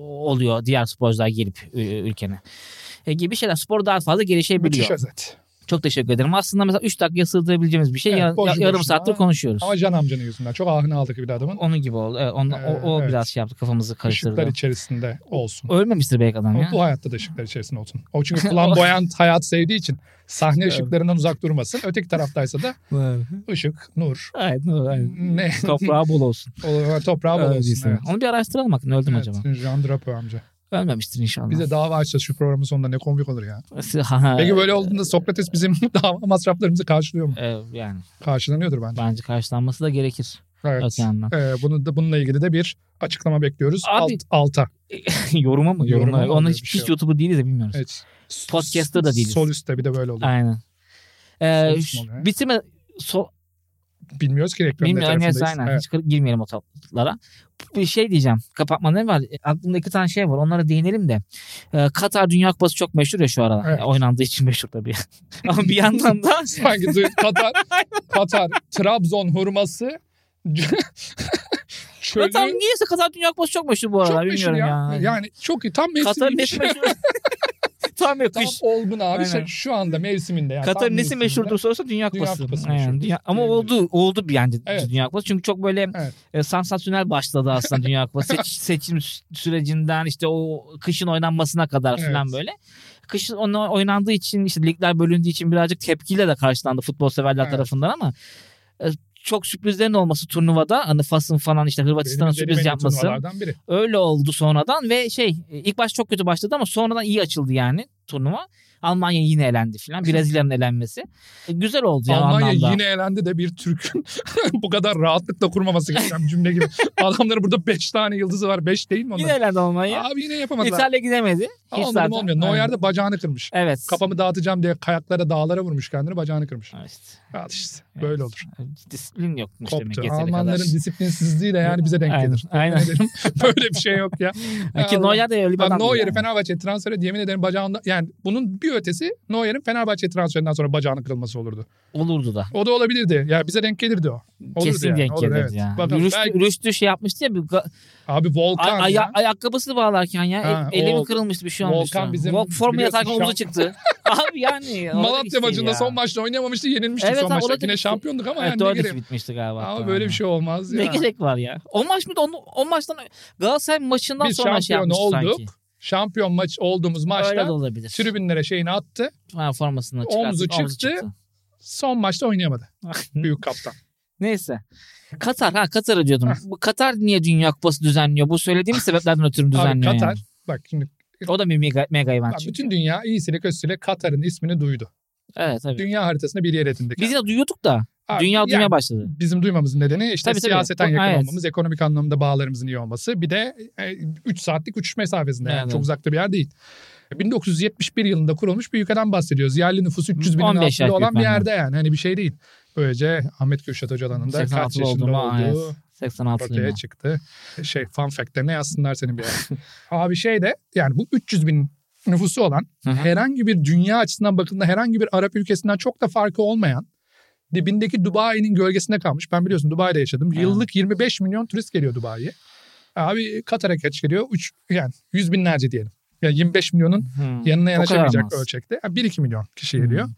S2: oluyor diğer sporcular gelip e, ülkene E, gibi şeyler. Spor daha fazla gelişebiliyor.
S3: Müthiş özet.
S2: Çok teşekkür ederim. Aslında mesela 3 dakikaya sığdırabileceğimiz bir şey
S3: Evet,
S2: yar-
S3: boşu
S2: yar- yarım
S3: boşuna.
S2: saattir konuşuyoruz.
S3: Ama Can amcanın yüzünden. Çok ahını aldık bir adamın.
S2: Onun gibi oldu. Evet, onunla- o, o
S3: Ee, evet.
S2: biraz şey yaptı kafamızı karıştırdı.
S3: Işıklar içerisinde olsun.
S2: Ölmemiştir belki adam ya.
S3: O, bu hayatta da ışıklar içerisinde olsun. O
S2: (laughs)
S3: çünkü flamboyant hayat sevdiği için sahne ışıklarından uzak durmasın. Öteki taraftaysa da ışık, nur,
S2: Aynen,
S3: (laughs)
S2: aynen. (laughs)
S3: ne
S2: Toprağı bol olsun.
S3: olur, toprağı bol olsun.
S2: Öldüyse.
S3: Evet.
S2: Onu bir araştıralım bakın öldüm
S3: Evet,
S2: acaba.
S3: Jean Drapeau amca.
S2: Ölmemiştir inşallah.
S3: Bize dava açsa şu programın sonunda ne komik olur ya.
S2: (laughs) Ha,
S3: Peki böyle olduğunda Sokrates bizim (laughs) dava masraflarımızı karşılıyor mu?
S2: e, yani
S3: Karşılanıyordur bence.
S2: bence karşılanması da gerekir.
S3: Evet.
S2: Öte
S3: (laughs)
S2: yandan. (laughs)
S3: Ee, bunu da, bununla ilgili de bir açıklama bekliyoruz.
S2: Abi-
S3: Alt, alta.
S2: Yoruma mı?
S3: Yoruma
S2: Yoruma.
S3: mı
S2: Onun
S3: oluyor
S2: hiç
S3: bir
S2: pis
S3: şey yok.
S2: YouTube'u değiliz de bilmiyoruz.
S3: Evet.
S2: Podcast'ta da değiliz.
S3: Solüste bir de böyle oluyor.
S2: Aynen. Ee,
S3: Sonuç
S2: şu-
S3: mu oluyor?
S2: bitirme so,
S3: Bilmiyoruz ki reklamın ne
S2: bilmiyorum neyse
S3: tarafındayız.
S2: aynen
S3: Evet.
S2: hiç kır- girmeyelim o tatlara. Bir şey diyeceğim. Kapatma ne var? E, Aklımda iki tane şey var. Onlara değinelim de. Ee, Katar Dünya Kupası çok meşhur ya şu aralar.
S3: Evet.
S2: E, Oynandığı için meşhur tabii. (laughs) Ama bir yandan da
S3: (laughs) Hangi duy-
S2: (laughs)
S3: Katar, Katar, Trabzon hurması, çölü.
S2: Zaten niyeyse Katar Dünya Kupası çok meşhur bu
S3: çok
S2: aralar
S3: meşhur
S2: bilmiyorum
S3: ya.
S2: ya.
S3: Yani şey. çok iyi. Tam
S2: Katar'ın
S3: mevsiminde.
S2: nesi
S3: (laughs)
S2: meşhur? Tam yok.
S3: Tam
S2: Kış.
S3: olgun abi.
S2: Aynen.
S3: Şu- Şu anda mevsiminde. Yani.
S2: Katar'ın
S3: Tam
S2: nesi
S3: mevsiminde.
S2: meşhurdur sorarsa Dünya
S3: Dünya
S2: Kupası.
S3: Kupası
S2: Aynen,
S3: meşhur.
S2: dünya- ama oldu oldu bir yani
S3: Evet.
S2: Dünya Kupası. Çünkü çok böyle
S3: Evet.
S2: e, sansasyonel başladı aslında Dünya
S3: (laughs)
S2: Kupası. Seç- seçim sü- sürecinden işte o kışın oynanmasına kadar
S3: Evet.
S2: falan böyle. Kışın ona oynandığı için işte ligler bölündüğü için birazcık tepkiyle de karşılandı futbol severler
S3: Evet.
S2: tarafından ama e, çok sürprizlerin olması turnuvada hani Fas'ın falan işte Hırvatistan'ın
S3: Benim
S2: sürpriz
S3: denemeyen
S2: yapması.
S3: turnuvalardan biri.
S2: Öyle oldu sonradan ve şey e, ilk baş çok kötü başladı ama sonradan iyi açıldı yani turnuva. Almanya yine elendi
S3: (laughs)
S2: filan. Brezilya'nın elenmesi. E, Güzel oldu yani
S3: Almanya
S2: anlamda.
S3: yine elendi de bir Türk'ün (laughs) bu kadar rahatlıkla kurmaması gereken bir cümle gibi.
S2: (laughs)
S3: Adamların burada 5 tane yıldızı var. 5 değil mi
S2: Yine
S3: onlar?
S2: elendi Almanya.
S3: Abi yine yapamadılar.
S2: İtalya gidemedi.
S3: Ama
S2: Hiç
S3: onların
S2: zaten.
S3: olmuyor. Neuer de bacağını kırmış.
S2: Evet.
S3: Kafamı dağıtacağım diye kayaklara dağlara vurmuş kendini bacağını kırmış.
S2: Evet.
S3: Al işte
S2: Evet.
S3: böyle olur.
S2: Disiplin yokmuş demek
S3: Koptu.
S2: yeteri
S3: Almanların
S2: kadar.
S3: disiplinsizliğiyle yani bize denk
S2: Aynen.
S3: gelir.
S2: Aynen.
S3: Ne dedim? (laughs) böyle bir şey yok ya.
S2: Ya Ki
S3: Allah.
S2: Neuer de öyle bir
S3: Ben
S2: adam.
S3: Neuer'i Fenerbahçe'ye transfer et yemin ederim bacağında yani bunun bir ötesi Neuer'in Fenerbahçe'ye transferinden sonra bacağının kırılması olurdu.
S2: Olurdu da.
S3: O da olabilirdi. Yani bize denk gelirdi o. Olurdu
S2: Kesin
S3: yani.
S2: denk
S3: Olur,
S2: gelirdi
S3: evet.
S2: ya.
S3: Bakın
S2: Rüştü,
S3: belki-
S2: Rüştü şey yapmıştı ya. Bir ga-
S3: Abi Volkan
S2: ay- aya-
S3: ya.
S2: ayakkabısını bağlarken ya.
S3: Ha,
S2: el- elimi
S3: o-
S2: kırılmıştı bir şey olmuştu.
S3: Volkan bizim
S2: Vol- Formula
S3: biliyorsun
S2: yatarken
S3: şamp-
S2: omuzu çıktı.
S3: (laughs)
S2: Abi yani. olacak iş
S3: Malatya
S2: değil
S3: maçında
S2: şey ya.
S3: son maçta oynayamamıştı yenilmiştik
S2: Evet,
S3: son
S2: abi,
S3: maçta.
S2: olabilir.
S3: Yine şampiyonduk ama
S2: Evet
S3: yani ne
S2: 4-2
S3: gerek.
S2: bitmişti galiba.
S3: Ama
S2: hatta.
S3: böyle bir şey olmaz ya.
S2: Ne gerek var ya? O maç mıydı? Onu, o maçtan Galatasaray maçından
S3: Biz
S2: sonra şey
S3: şampiyon
S2: yapmıştı
S3: olduk.
S2: sanki.
S3: Şampiyon maç olduğumuz
S2: Öyle de
S3: maçta
S2: olabilir.
S3: tribünlere şeyini attı.
S2: Ha, formasını
S3: Omuzu
S2: çıkarttı, omuzu (laughs)
S3: çıktı. Son maçta oynayamadı. Büyük kaptan.
S2: Neyse. Katar ha Katar'ı diyordum. Bu Katar niye Dünya Kupası düzenliyor? Bu söylediğim sebeplerden ötürü
S3: Abi
S2: düzenliyor.
S3: Katar
S2: yani.
S3: bak şimdi
S2: O da bir mega, mega event
S3: abi
S2: çünkü.
S3: bütün dünya iyisiyle kötüsüyle Katar'ın ismini duydu.
S2: Evet tabii.
S3: Dünya haritasında bir yer edindik.
S2: Biz de duyuyorduk da.
S3: Abi,
S2: dünya
S3: yani
S2: duymaya başladı.
S3: bizim duymamızın nedeni işte
S2: Tabii, tabii.
S3: siyaseten
S2: Bu-
S3: yakın
S2: evet.
S3: olmamız, ekonomik anlamda bağlarımızın iyi olması. Bir de 3 saatlik uçuş mesafesinde yani
S2: Evet.
S3: çok uzakta bir yer değil. 1971 yılında kurulmuş bir ülkeden bahsediyoruz. Yerli nüfusu 300 binin
S2: 15
S3: altında
S2: yaş
S3: olan bir
S2: büyük
S3: yerde yani hani bir şey değil. Böylece Ahmet Kürşat Öcalan'ın da kaç
S2: 86
S3: yaşında
S2: oldum ha, evet.
S3: olduğu
S2: 86
S3: ortaya
S2: yılında.
S3: çıktı. Şey fun fact'lerine yazsınlar senin
S2: (laughs)
S3: bir yere. Abi şey de yani bu 300 bin nüfusu olan
S2: Hı hı.
S3: herhangi bir dünya açısından bakıldığında herhangi bir Arap ülkesinden çok da farkı olmayan dibindeki Dubai'nin gölgesinde kalmış. Ben biliyorsun Dubai'de yaşadım.
S2: Evet.
S3: Yıllık 25 milyon turist geliyor Dubai'ye. Abi Katar'a kaç geliyor? 3 yani 100 binlerce diyelim. Yani 25 milyonun
S2: Hı.
S3: yanına
S2: kadar
S3: yanaşamayacak
S2: az. Hmm.
S3: ölçekte. Yani 1-2 milyon kişi geliyor.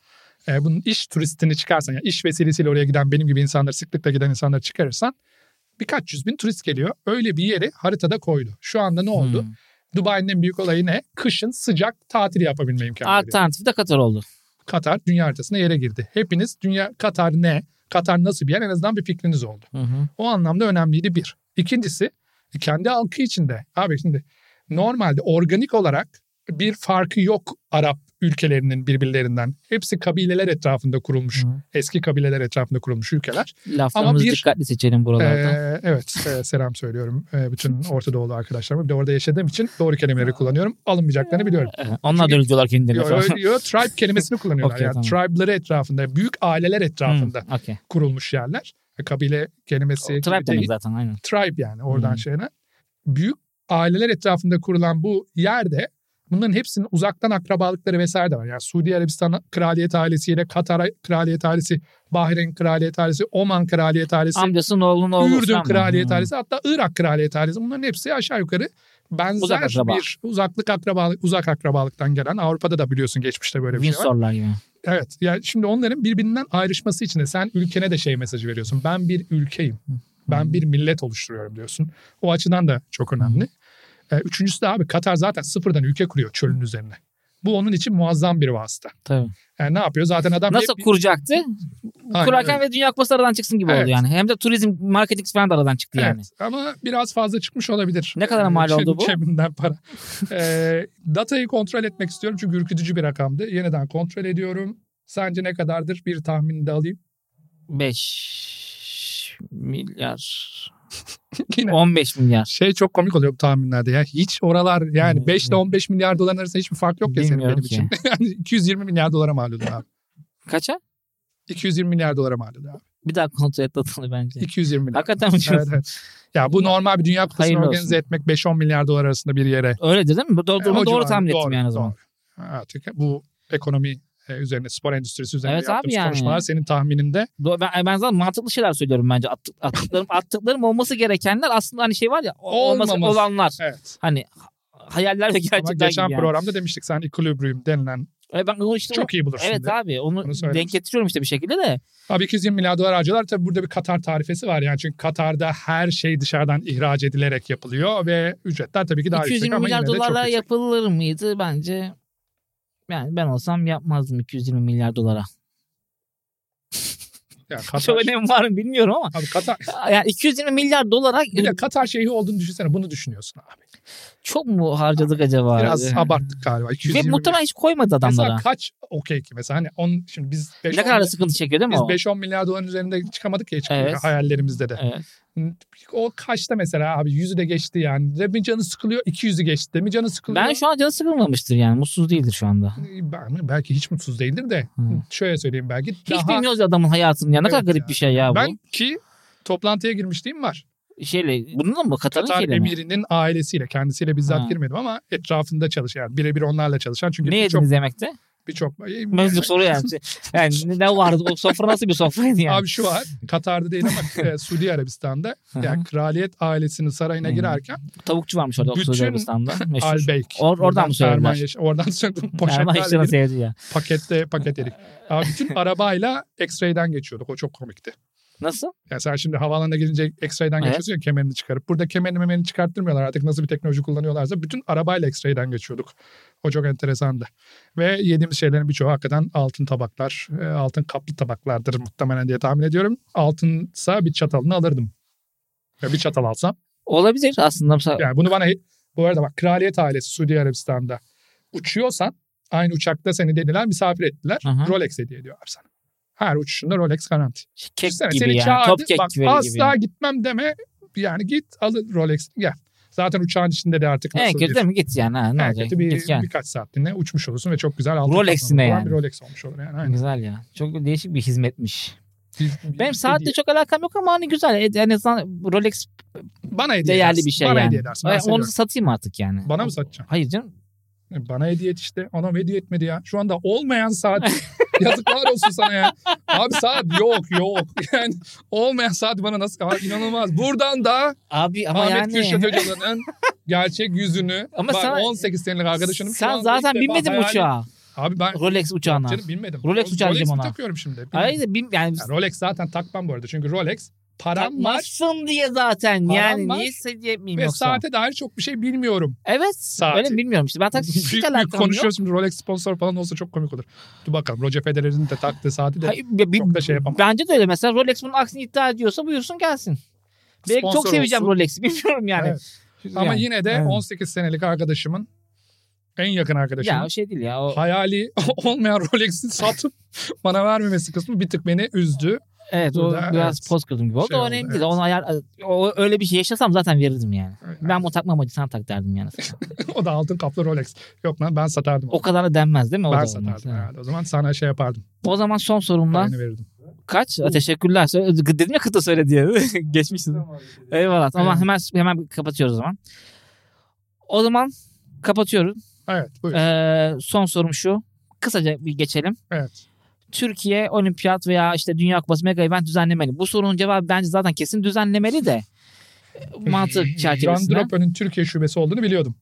S3: E, bunun iş turistini çıkarsan yani iş vesilesiyle oraya giden benim gibi insanları sıklıkla giden insanları çıkarırsan birkaç yüz bin turist geliyor. Öyle bir yeri haritada koydu. Şu anda ne oldu?
S2: Hı.
S3: Dubai'nin en büyük olayı ne? Kışın sıcak tatil yapabilme imkanı. veriyor.
S2: Alternatifi de Katar oldu.
S3: Katar dünya haritasına yere girdi. Hepiniz dünya Katar ne? Katar nasıl bir yer? En azından bir fikriniz oldu.
S2: Hı hı.
S3: O anlamda önemliydi bir. İkincisi kendi halkı içinde. Abi şimdi normalde organik olarak bir farkı yok Arap ülkelerinin birbirlerinden. Hepsi kabileler etrafında kurulmuş.
S2: Hı.
S3: Eski kabileler etrafında kurulmuş ülkeler.
S2: Laflarımızı
S3: bir-
S2: dikkatli seçelim buralarda.
S3: Ee, evet e, selam söylüyorum e, bütün Orta Doğulu arkadaşlarıma. Bir de orada yaşadığım için doğru kelimeleri kullanıyorum. Alınmayacaklarını biliyorum.
S2: Evet, Ee, Onlar da öyle diyorlar kendilerine.
S3: Yo,
S2: falan.
S3: yo, yo, tribe kelimesini kullanıyorlar.
S2: Okey,
S3: yani
S2: tamam.
S3: tribe'ları etrafında, büyük aileler etrafında
S2: Hı, okey.
S3: kurulmuş yerler. E, Kabile kelimesi gibi
S2: Tribe
S3: değil
S2: demek zaten aynen.
S3: tribe yani oradan
S2: Hmm.
S3: şeyine. Büyük aileler etrafında kurulan bu yerde bunların hepsinin uzaktan akrabalıkları vesaire de var. Yani Suudi Arabistan kraliyet ailesiyle Katar kraliyet ailesi, Bahreyn kraliyet ailesi, Osman kraliyet ailesi,
S2: Amcasının oğlunun oğlu.
S3: Ürdün
S2: falan mı?
S3: kraliyet
S2: Hı.
S3: ailesi hatta Irak kraliyet ailesi bunların hepsi aşağı yukarı benzer
S2: Uzak akraba.
S3: bir uzaklık akrabalık uzak akrabalıktan gelen Avrupa'da da biliyorsun geçmişte böyle bir şey var.
S2: Windsor'lar gibi.
S3: Evet. Yani şimdi onların birbirinden ayrışması için de sen ülkene de şey mesajı veriyorsun. Ben bir ülkeyim. Ben bir millet oluşturuyorum diyorsun. O açıdan da çok önemli. Ee, Üçüncüsü de abi Katar zaten sıfırdan ülke kuruyor çölün üzerine. Bu onun için muazzam bir vasıta.
S2: Tabii.
S3: Yani ne yapıyor? Zaten adam
S2: Nasıl
S3: hep-
S2: kuracaktı?
S3: Aynen
S2: Kurarken
S3: öyle.
S2: ve Dünya Kupası aradan çıksın gibi
S3: Evet.
S2: oldu yani. Hem de turizm, marketing falan da aradan çıktı yani.
S3: Evet, ama biraz fazla çıkmış olabilir.
S2: Ne kadara
S3: Ee,
S2: mal
S3: ceb-
S2: oldu bu?
S3: Cebimden para. Ee, datayı kontrol etmek istiyorum çünkü ürkütücü bir rakamdı. Yeniden kontrol ediyorum. Sence ne kadardır? Bir tahmin de alayım.
S2: 5 milyar.
S3: (laughs) Yine
S2: 15 milyar.
S3: Şey çok komik oluyor bu tahminlerde ya. Hiç oralar yani
S2: Evet,
S3: 5 ile 15 milyar dolar arasında hiçbir fark yok ya senin
S2: Hmm, Bilmiyorum
S3: benim
S2: ki.
S3: için. (laughs) Yani 220 milyar dolara mal oluyor abi.
S2: Kaça?
S3: 220 milyar dolara mal oluyor abi.
S2: Bir daha kontrol et datanı bence.
S3: 220 milyar.
S2: Hakikaten mi?
S3: evet evet. Ya bu normal bir dünya kupasını
S2: Hayırlı
S3: organize
S2: olsun.
S3: etmek 5-10 milyar dolar arasında bir yere.
S2: Öyledir değil mi? Bu Doğru,
S3: E, o
S2: doğru,
S3: civarı.
S2: tahmin ettim
S3: Doğru,
S2: yani o zaman.
S3: doğru. Artık bu ekonomi e, üzerine, spor endüstrisi üzerine
S2: Evet abi
S3: yaptığımız
S2: yani.
S3: konuşmalar senin tahmininde
S2: Doğru. Ben, ben zaten mantıklı şeyler söylüyorum bence. Attık, attıklarım, (laughs) attıklarım olması gerekenler aslında hani şey var ya. o- Olması,
S3: Olmaması.
S2: olanlar.
S3: evet.
S2: Hani ha- hayaller ve
S3: Ama
S2: gerçekler
S3: geçen
S2: gibi yani.
S3: programda demiştik sen equilibrium denilen
S2: E, Ben onu işte
S3: çok iyi bulursun.
S2: Evet
S3: diye.
S2: abi onu
S3: Onu söylemiştim.
S2: denk getiriyorum işte bir şekilde de.
S3: Abi 220 milyar dolar harcıyorlar. Tabii burada bir Katar tarifesi var. Yani çünkü Katar'da her şey dışarıdan ihraç edilerek yapılıyor ve ücretler tabii ki daha yüksek
S2: 220
S3: ama
S2: milyar
S3: yine de çok
S2: dolarla
S3: yüksek.
S2: yapılır mıydı bence? Yani ben olsam yapmazdım 220 milyar dolara. (laughs)
S3: Yani Katar,
S2: Çok önemi var mı bilmiyorum ama.
S3: Abi Katar,
S2: Yani 220 milyar dolara
S3: bir de Katar şeyhi olduğunu düşünsene. Bunu düşünüyorsun abi.
S2: çok mu harcadık acaba?
S3: Biraz
S2: abi?
S3: abarttık galiba. 220
S2: Ve
S3: milyar.
S2: muhtemelen hiç koymadı
S3: Mesela
S2: adamlara.
S3: kaç okey ki mesela hani on, şimdi biz 5
S2: Ne kadar da sıkıntı çekiyor değil mi
S3: biz
S2: o?
S3: 5-10 milyar doların üzerinde çıkamadık ya hiç
S2: Evet.
S3: hayallerimizde de.
S2: Evet.
S3: O kaçta mesela abi yüzü de geçti yani. Demin canı sıkılıyor 200'ü geçti. Demin canı sıkılıyor.
S2: Ben şu an canı sıkılmamıştır yani. Mutsuz değildir şu anda.
S3: Ben- belki hiç mutsuz değildir de
S2: Hı.
S3: şöyle söyleyeyim belki
S2: Hiç
S3: daha
S2: bilmiyoruz adamın hayatını ya. Ne kadar
S3: Evet
S2: garip
S3: ya.
S2: bir şey ya bu.
S3: ben ki toplantıya girmişliğim var.
S2: Şeyle, bununla mı? Katar'ın
S3: Katar
S2: şeyle mi?
S3: emirinin ailesiyle kendisiyle bizzat
S2: Ha.
S3: girmedim ama etrafında çalışan yani birebir onlarla çalışan çünkü
S2: Ne
S3: birçok
S2: yediniz yemekte?
S3: birçok
S2: (laughs) Mevzu soru
S3: (laughs)
S2: yani. Yani ne vardı? O sofra nasıl bir sofraydı yani?
S3: Abi şu var Katar'da değil
S2: (laughs)
S3: ama e, Suudi Arabistan'da
S2: Hı hı.
S3: yani kraliyet ailesinin sarayına
S2: Hı.
S3: girerken
S2: Tavukçu varmış orada Oksuz
S3: Bütün
S2: Arabistan'da. Meşhur.
S3: Albeyk.
S2: Or- oradan mı söylediler?
S3: Erman Yaşar- oradan (laughs) söyledim.
S2: Erman
S3: Poşetlerle
S2: Yaşar'ın
S3: girip
S2: sevdiği ya.
S3: pakette paket erik. Abi bütün arabayla X-ray'den geçiyorduk. O çok komikti.
S2: Nasıl?
S3: Yani sen şimdi havaalanına gelince X-ray'den
S2: Evet.
S3: geçiyorsun ya kemerini çıkarıp. Burada kemerini memerini çıkarttırmıyorlar artık nasıl bir teknoloji kullanıyorlarsa. Bütün arabayla X-ray'den geçiyorduk. O çok enteresandı. Ve yediğimiz şeylerin birçoğu hakikaten altın tabaklar, e, altın kaplı tabaklardır muhtemelen diye tahmin ediyorum. Altınsa bir çatalını alırdım. Ya bir çatal alsam.
S2: Olabilir aslında. Mesela-
S3: Yani bunu bana bu arada bak kraliyet ailesi Suudi Arabistan'da uçuyorsan aynı uçakta seni dediler misafir ettiler.
S2: Hı hı.
S3: Rolex hediye ediyor abi sana. Her uçuşunda Rolex garanti.
S2: Şey, Kek
S3: Düşünsene,
S2: gibi
S3: seni
S2: yani.
S3: çağırdı,
S2: Top kek
S3: bak,
S2: gibi.
S3: Asla gitmem deme. Yani git al Rolex gel. Zaten uçağın içinde de artık
S2: En
S3: nasıl
S2: kötü
S3: bir,
S2: değil mi? Git yani. Ha, ne
S3: en
S2: olacak?
S3: kötü bir,
S2: Git yani.
S3: birkaç saatliğine uçmuş olursun ve çok güzel altın
S2: Rolex'ine
S3: kaplamlı olan
S2: yani.
S3: bir Rolex olmuş olur yani. Aynen.
S2: Güzel ya. Çok değişik bir hizmetmiş.
S3: Bir- şey
S2: Benim
S3: bir
S2: saatle
S3: hediye.
S2: çok alakam yok ama hani güzel. E, En azından Rolex
S3: bana hediye
S2: değerli
S3: edersin,
S2: bir şey
S3: Bana
S2: yani.
S3: hediye edersin. ben
S2: Ay,
S3: seviyorum.
S2: Onu satayım artık yani.
S3: Bana mı satacaksın? E,
S2: Hayır canım.
S3: Bana hediye et işte. Ona hediye etmedi ya. Şu anda
S2: (laughs)
S3: olmayan saat. Yazıklar olsun sana ya. Abi saat yok yok. (laughs) Yani olmayan saat bana nasıl? Abi inanılmaz. Buradan da
S2: Abi ama
S3: Ahmet
S2: yani. (laughs)
S3: Kürşat Hoca'nın gerçek yüzünü.
S2: Ama
S3: Ama
S2: sen-
S3: 18 senelik arkadaşınım. şu
S2: Sen
S3: anda
S2: zaten
S3: ilk defa
S2: binmedin mi
S3: hayali-
S2: uçağa.
S3: Abi ben
S2: Rolex uçağına.
S3: canım binmedim.
S2: Rolex uçağı
S3: Rolex
S2: diyeceğim
S3: mi
S2: ona.
S3: takıyorum şimdi?
S2: Hayır da bin, yani
S3: Ya Rolex zaten takmam bu arada. Çünkü Rolex param var
S2: takmazsın diye zaten.
S3: Param
S2: yani
S3: var.
S2: niye hissetmeyeyim
S3: ve
S2: yoksa.
S3: saate dair çok bir şey bilmiyorum.
S2: Evet.
S3: Saati.
S2: Öyle mi bilmiyorum işte. Ben taksi hiç
S3: Büyük büyük
S2: alakam yok.
S3: konuşuyoruz şimdi Rolex sponsor falan olsa çok komik olur. Dur bakalım Roger Federer'in de taktığı saati de
S2: Hayır, ya bir-
S3: çok da şey yapamam.
S2: Bence de öyle. Mesela Rolex bunun aksini iddia ediyorsa buyursun gelsin. Belki çok
S3: Sponsor
S2: seveceğim
S3: olsun.
S2: Rolex'i. (laughs) Bilmiyorum yani.
S3: Evet. Ama
S2: Yani,
S3: yine de
S2: evet.
S3: 18 senelik arkadaşımın en yakın
S2: Ya
S3: arkadaşımın
S2: o şey değil ya. O,
S3: hayali (laughs) olmayan Rolex'i satıp bana vermemesi kısmı bir tık beni üzdü.
S2: evet o
S3: Burada,
S2: biraz
S3: evet.
S2: poz kırdım gibi oldu.
S3: Şey
S2: o
S3: oldu,
S2: önemli
S3: evet.
S2: değil. Onu ayar, o, öyle bir şey yaşasam zaten verirdim yani.
S3: Evet.
S2: Ben bunu takmam hacı sana tak derdim yani.
S3: o da altın kaplı Rolex. Yok lan ben satardım.
S2: o
S3: onu.
S2: kadar da denmez değil mi? O
S3: ben
S2: da
S3: satardım
S2: olmaz. Evet.
S3: herhalde. O zaman sana şey yapardım.
S2: O zaman son sorumla
S3: Paranı verirdim.
S2: kaç? Teşekkürler. Sö- Dedim ya kıta söyle diye. (laughs) Geçmişsin. Eyvallah. Ama
S3: Evet.
S2: hemen hemen kapatıyoruz o zaman. O zaman kapatıyorum.
S3: Evet buyur.
S2: Ee, son sorum şu. Kısaca bir geçelim.
S3: Evet.
S2: Türkiye olimpiyat veya işte dünya kupası mega event düzenlemeli. Bu sorunun cevabı bence zaten kesin düzenlemeli
S3: (laughs)
S2: de. Mantık
S3: Jean
S2: çerçevesinde.
S3: Drapeau'nun Türkiye şubesi olduğunu biliyordum.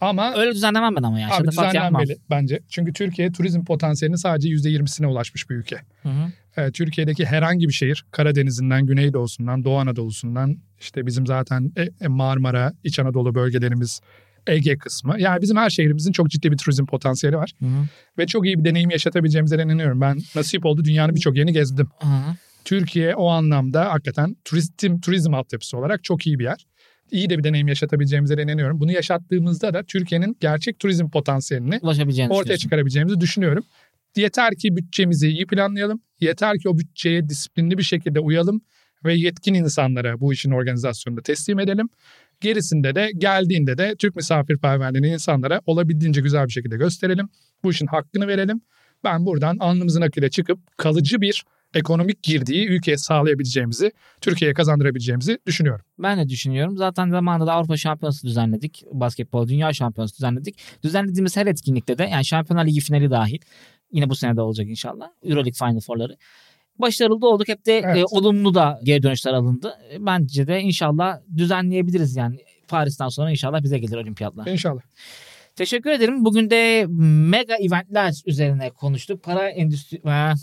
S3: Ama
S2: Öyle düzenlemem ben ama ya.
S3: abi
S2: Şatafat yapmam.
S3: düzenlenmeli bence. Çünkü Türkiye turizm potansiyelinin sadece %20'sine ulaşmış bir ülke.
S2: Hı hı.
S3: Ee, Türkiye'deki herhangi bir şehir Karadeniz'inden, Güneydoğusundan, Doğu Anadolu'sundan işte bizim zaten e- e, Marmara, İç Anadolu bölgelerimiz, Ege kısmı. Yani bizim her şehrimizin çok ciddi bir turizm potansiyeli var.
S2: Hı hı.
S3: Ve çok iyi bir deneyim yaşatabileceğimize inanıyorum. Ben nasip oldu dünyanın birçok yerini gezdim.
S2: Hı hı.
S3: Türkiye o anlamda hakikaten turistim, turizm altyapısı olarak çok iyi bir yer. İyi de bir deneyim yaşatabileceğimize inanıyorum. Bunu yaşattığımızda da Türkiye'nin gerçek turizm potansiyelini
S2: Ulaşabileceğini
S3: ortaya
S2: düşünüyorsun.
S3: çıkarabileceğimizi düşünüyorum. Yeter ki bütçemizi iyi planlayalım. Yeter ki o bütçeye disiplinli bir şekilde uyalım ve yetkin insanlara bu işin organizasyonunda teslim edelim. Gerisinde de geldiğinde de Türk misafirperverliğini insanlara olabildiğince güzel bir şekilde gösterelim. Bu işin hakkını verelim. Ben buradan alnımızın akıyla çıkıp kalıcı bir ekonomik girdiği ülkeye sağlayabileceğimizi, Türkiye'ye kazandırabileceğimizi düşünüyorum.
S2: Ben de düşünüyorum. Zaten zamanında da Avrupa Şampiyonası düzenledik. Basketbol Dünya Şampiyonası düzenledik. Düzenlediğimiz her etkinlikte de yani Şampiyonlar Ligi finali dahil. Yine bu sene de olacak inşallah. Euroleague Final Four'ları. Başarılı da olduk. Hep de
S3: Evet.
S2: e, olumlu da geri dönüşler alındı. E, Bence de inşallah düzenleyebiliriz yani. Paris'ten sonra inşallah bize gelir olimpiyatlar.
S3: İnşallah.
S2: Teşekkür ederim. Bugün de mega eventler üzerine konuştuk. Para endüstri... Ha,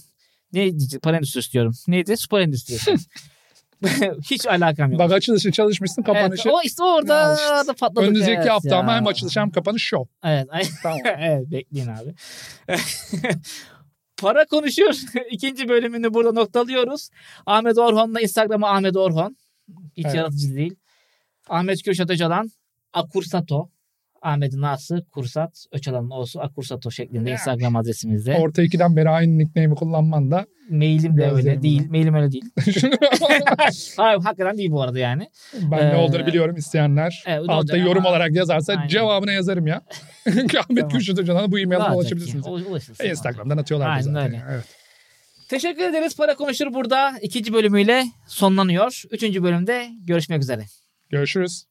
S2: ne diyeceğim? Para endüstrisi diyorum. Neydi? Spor
S3: (laughs)
S2: endüstrisi. (laughs) Hiç alakam yok.
S3: Bak açılışı çalışmışsın, kapanışı.
S2: Evet, o işte orada
S3: Ya işte.
S2: da patladık.
S3: Önümüzdeki
S2: evet
S3: hafta
S2: ya.
S3: ama hem açılış hem kapanış şov.
S2: Evet,
S3: (laughs)
S2: ay- (laughs)
S3: Tamam.
S2: evet bekleyin abi. (laughs) Para konuşuyor. (laughs) İkinci bölümünü burada noktalıyoruz. Ahmet Orhon'la Instagram'ı Ahmet Orhon. Hiç
S3: Evet.
S2: yaratıcı değil. Ahmet Kürşat Öcalan. Akursato. Ahmet'in A'sı Kursat. Öcalan'ın O'su Akursato şeklinde
S3: Ya.
S2: Instagram adresimizde.
S3: Orta 2'den beri aynı nickname'i kullanman da.
S2: Mailim de
S3: Gözlerim
S2: öyle
S3: bunu.
S2: değil. Mailim öyle
S3: (laughs)
S2: değil. (laughs) Hayır hakikaten değil bu arada yani.
S3: ben
S2: Ee,
S3: ne olduğunu biliyorum isteyenler.
S2: evet, o da
S3: altta
S2: olacak
S3: yorum
S2: ama-
S3: olarak yazarsa
S2: Aynen.
S3: cevabını yazarım ya. (laughs)
S2: Tamam.
S3: Ahmet Kürşat Hoca'dan bu e-mail'e
S2: Rahat
S3: ulaşabilirsiniz. E,
S2: bekleyin. Ulaşırsın.
S3: Instagram'dan atıyorlar
S2: Aynen
S3: zaten.
S2: öyle.
S3: Evet.
S2: Teşekkür ederiz. Para Konuşur burada ikinci bölümüyle sonlanıyor. Üçüncü bölümde görüşmek üzere.
S3: Görüşürüz.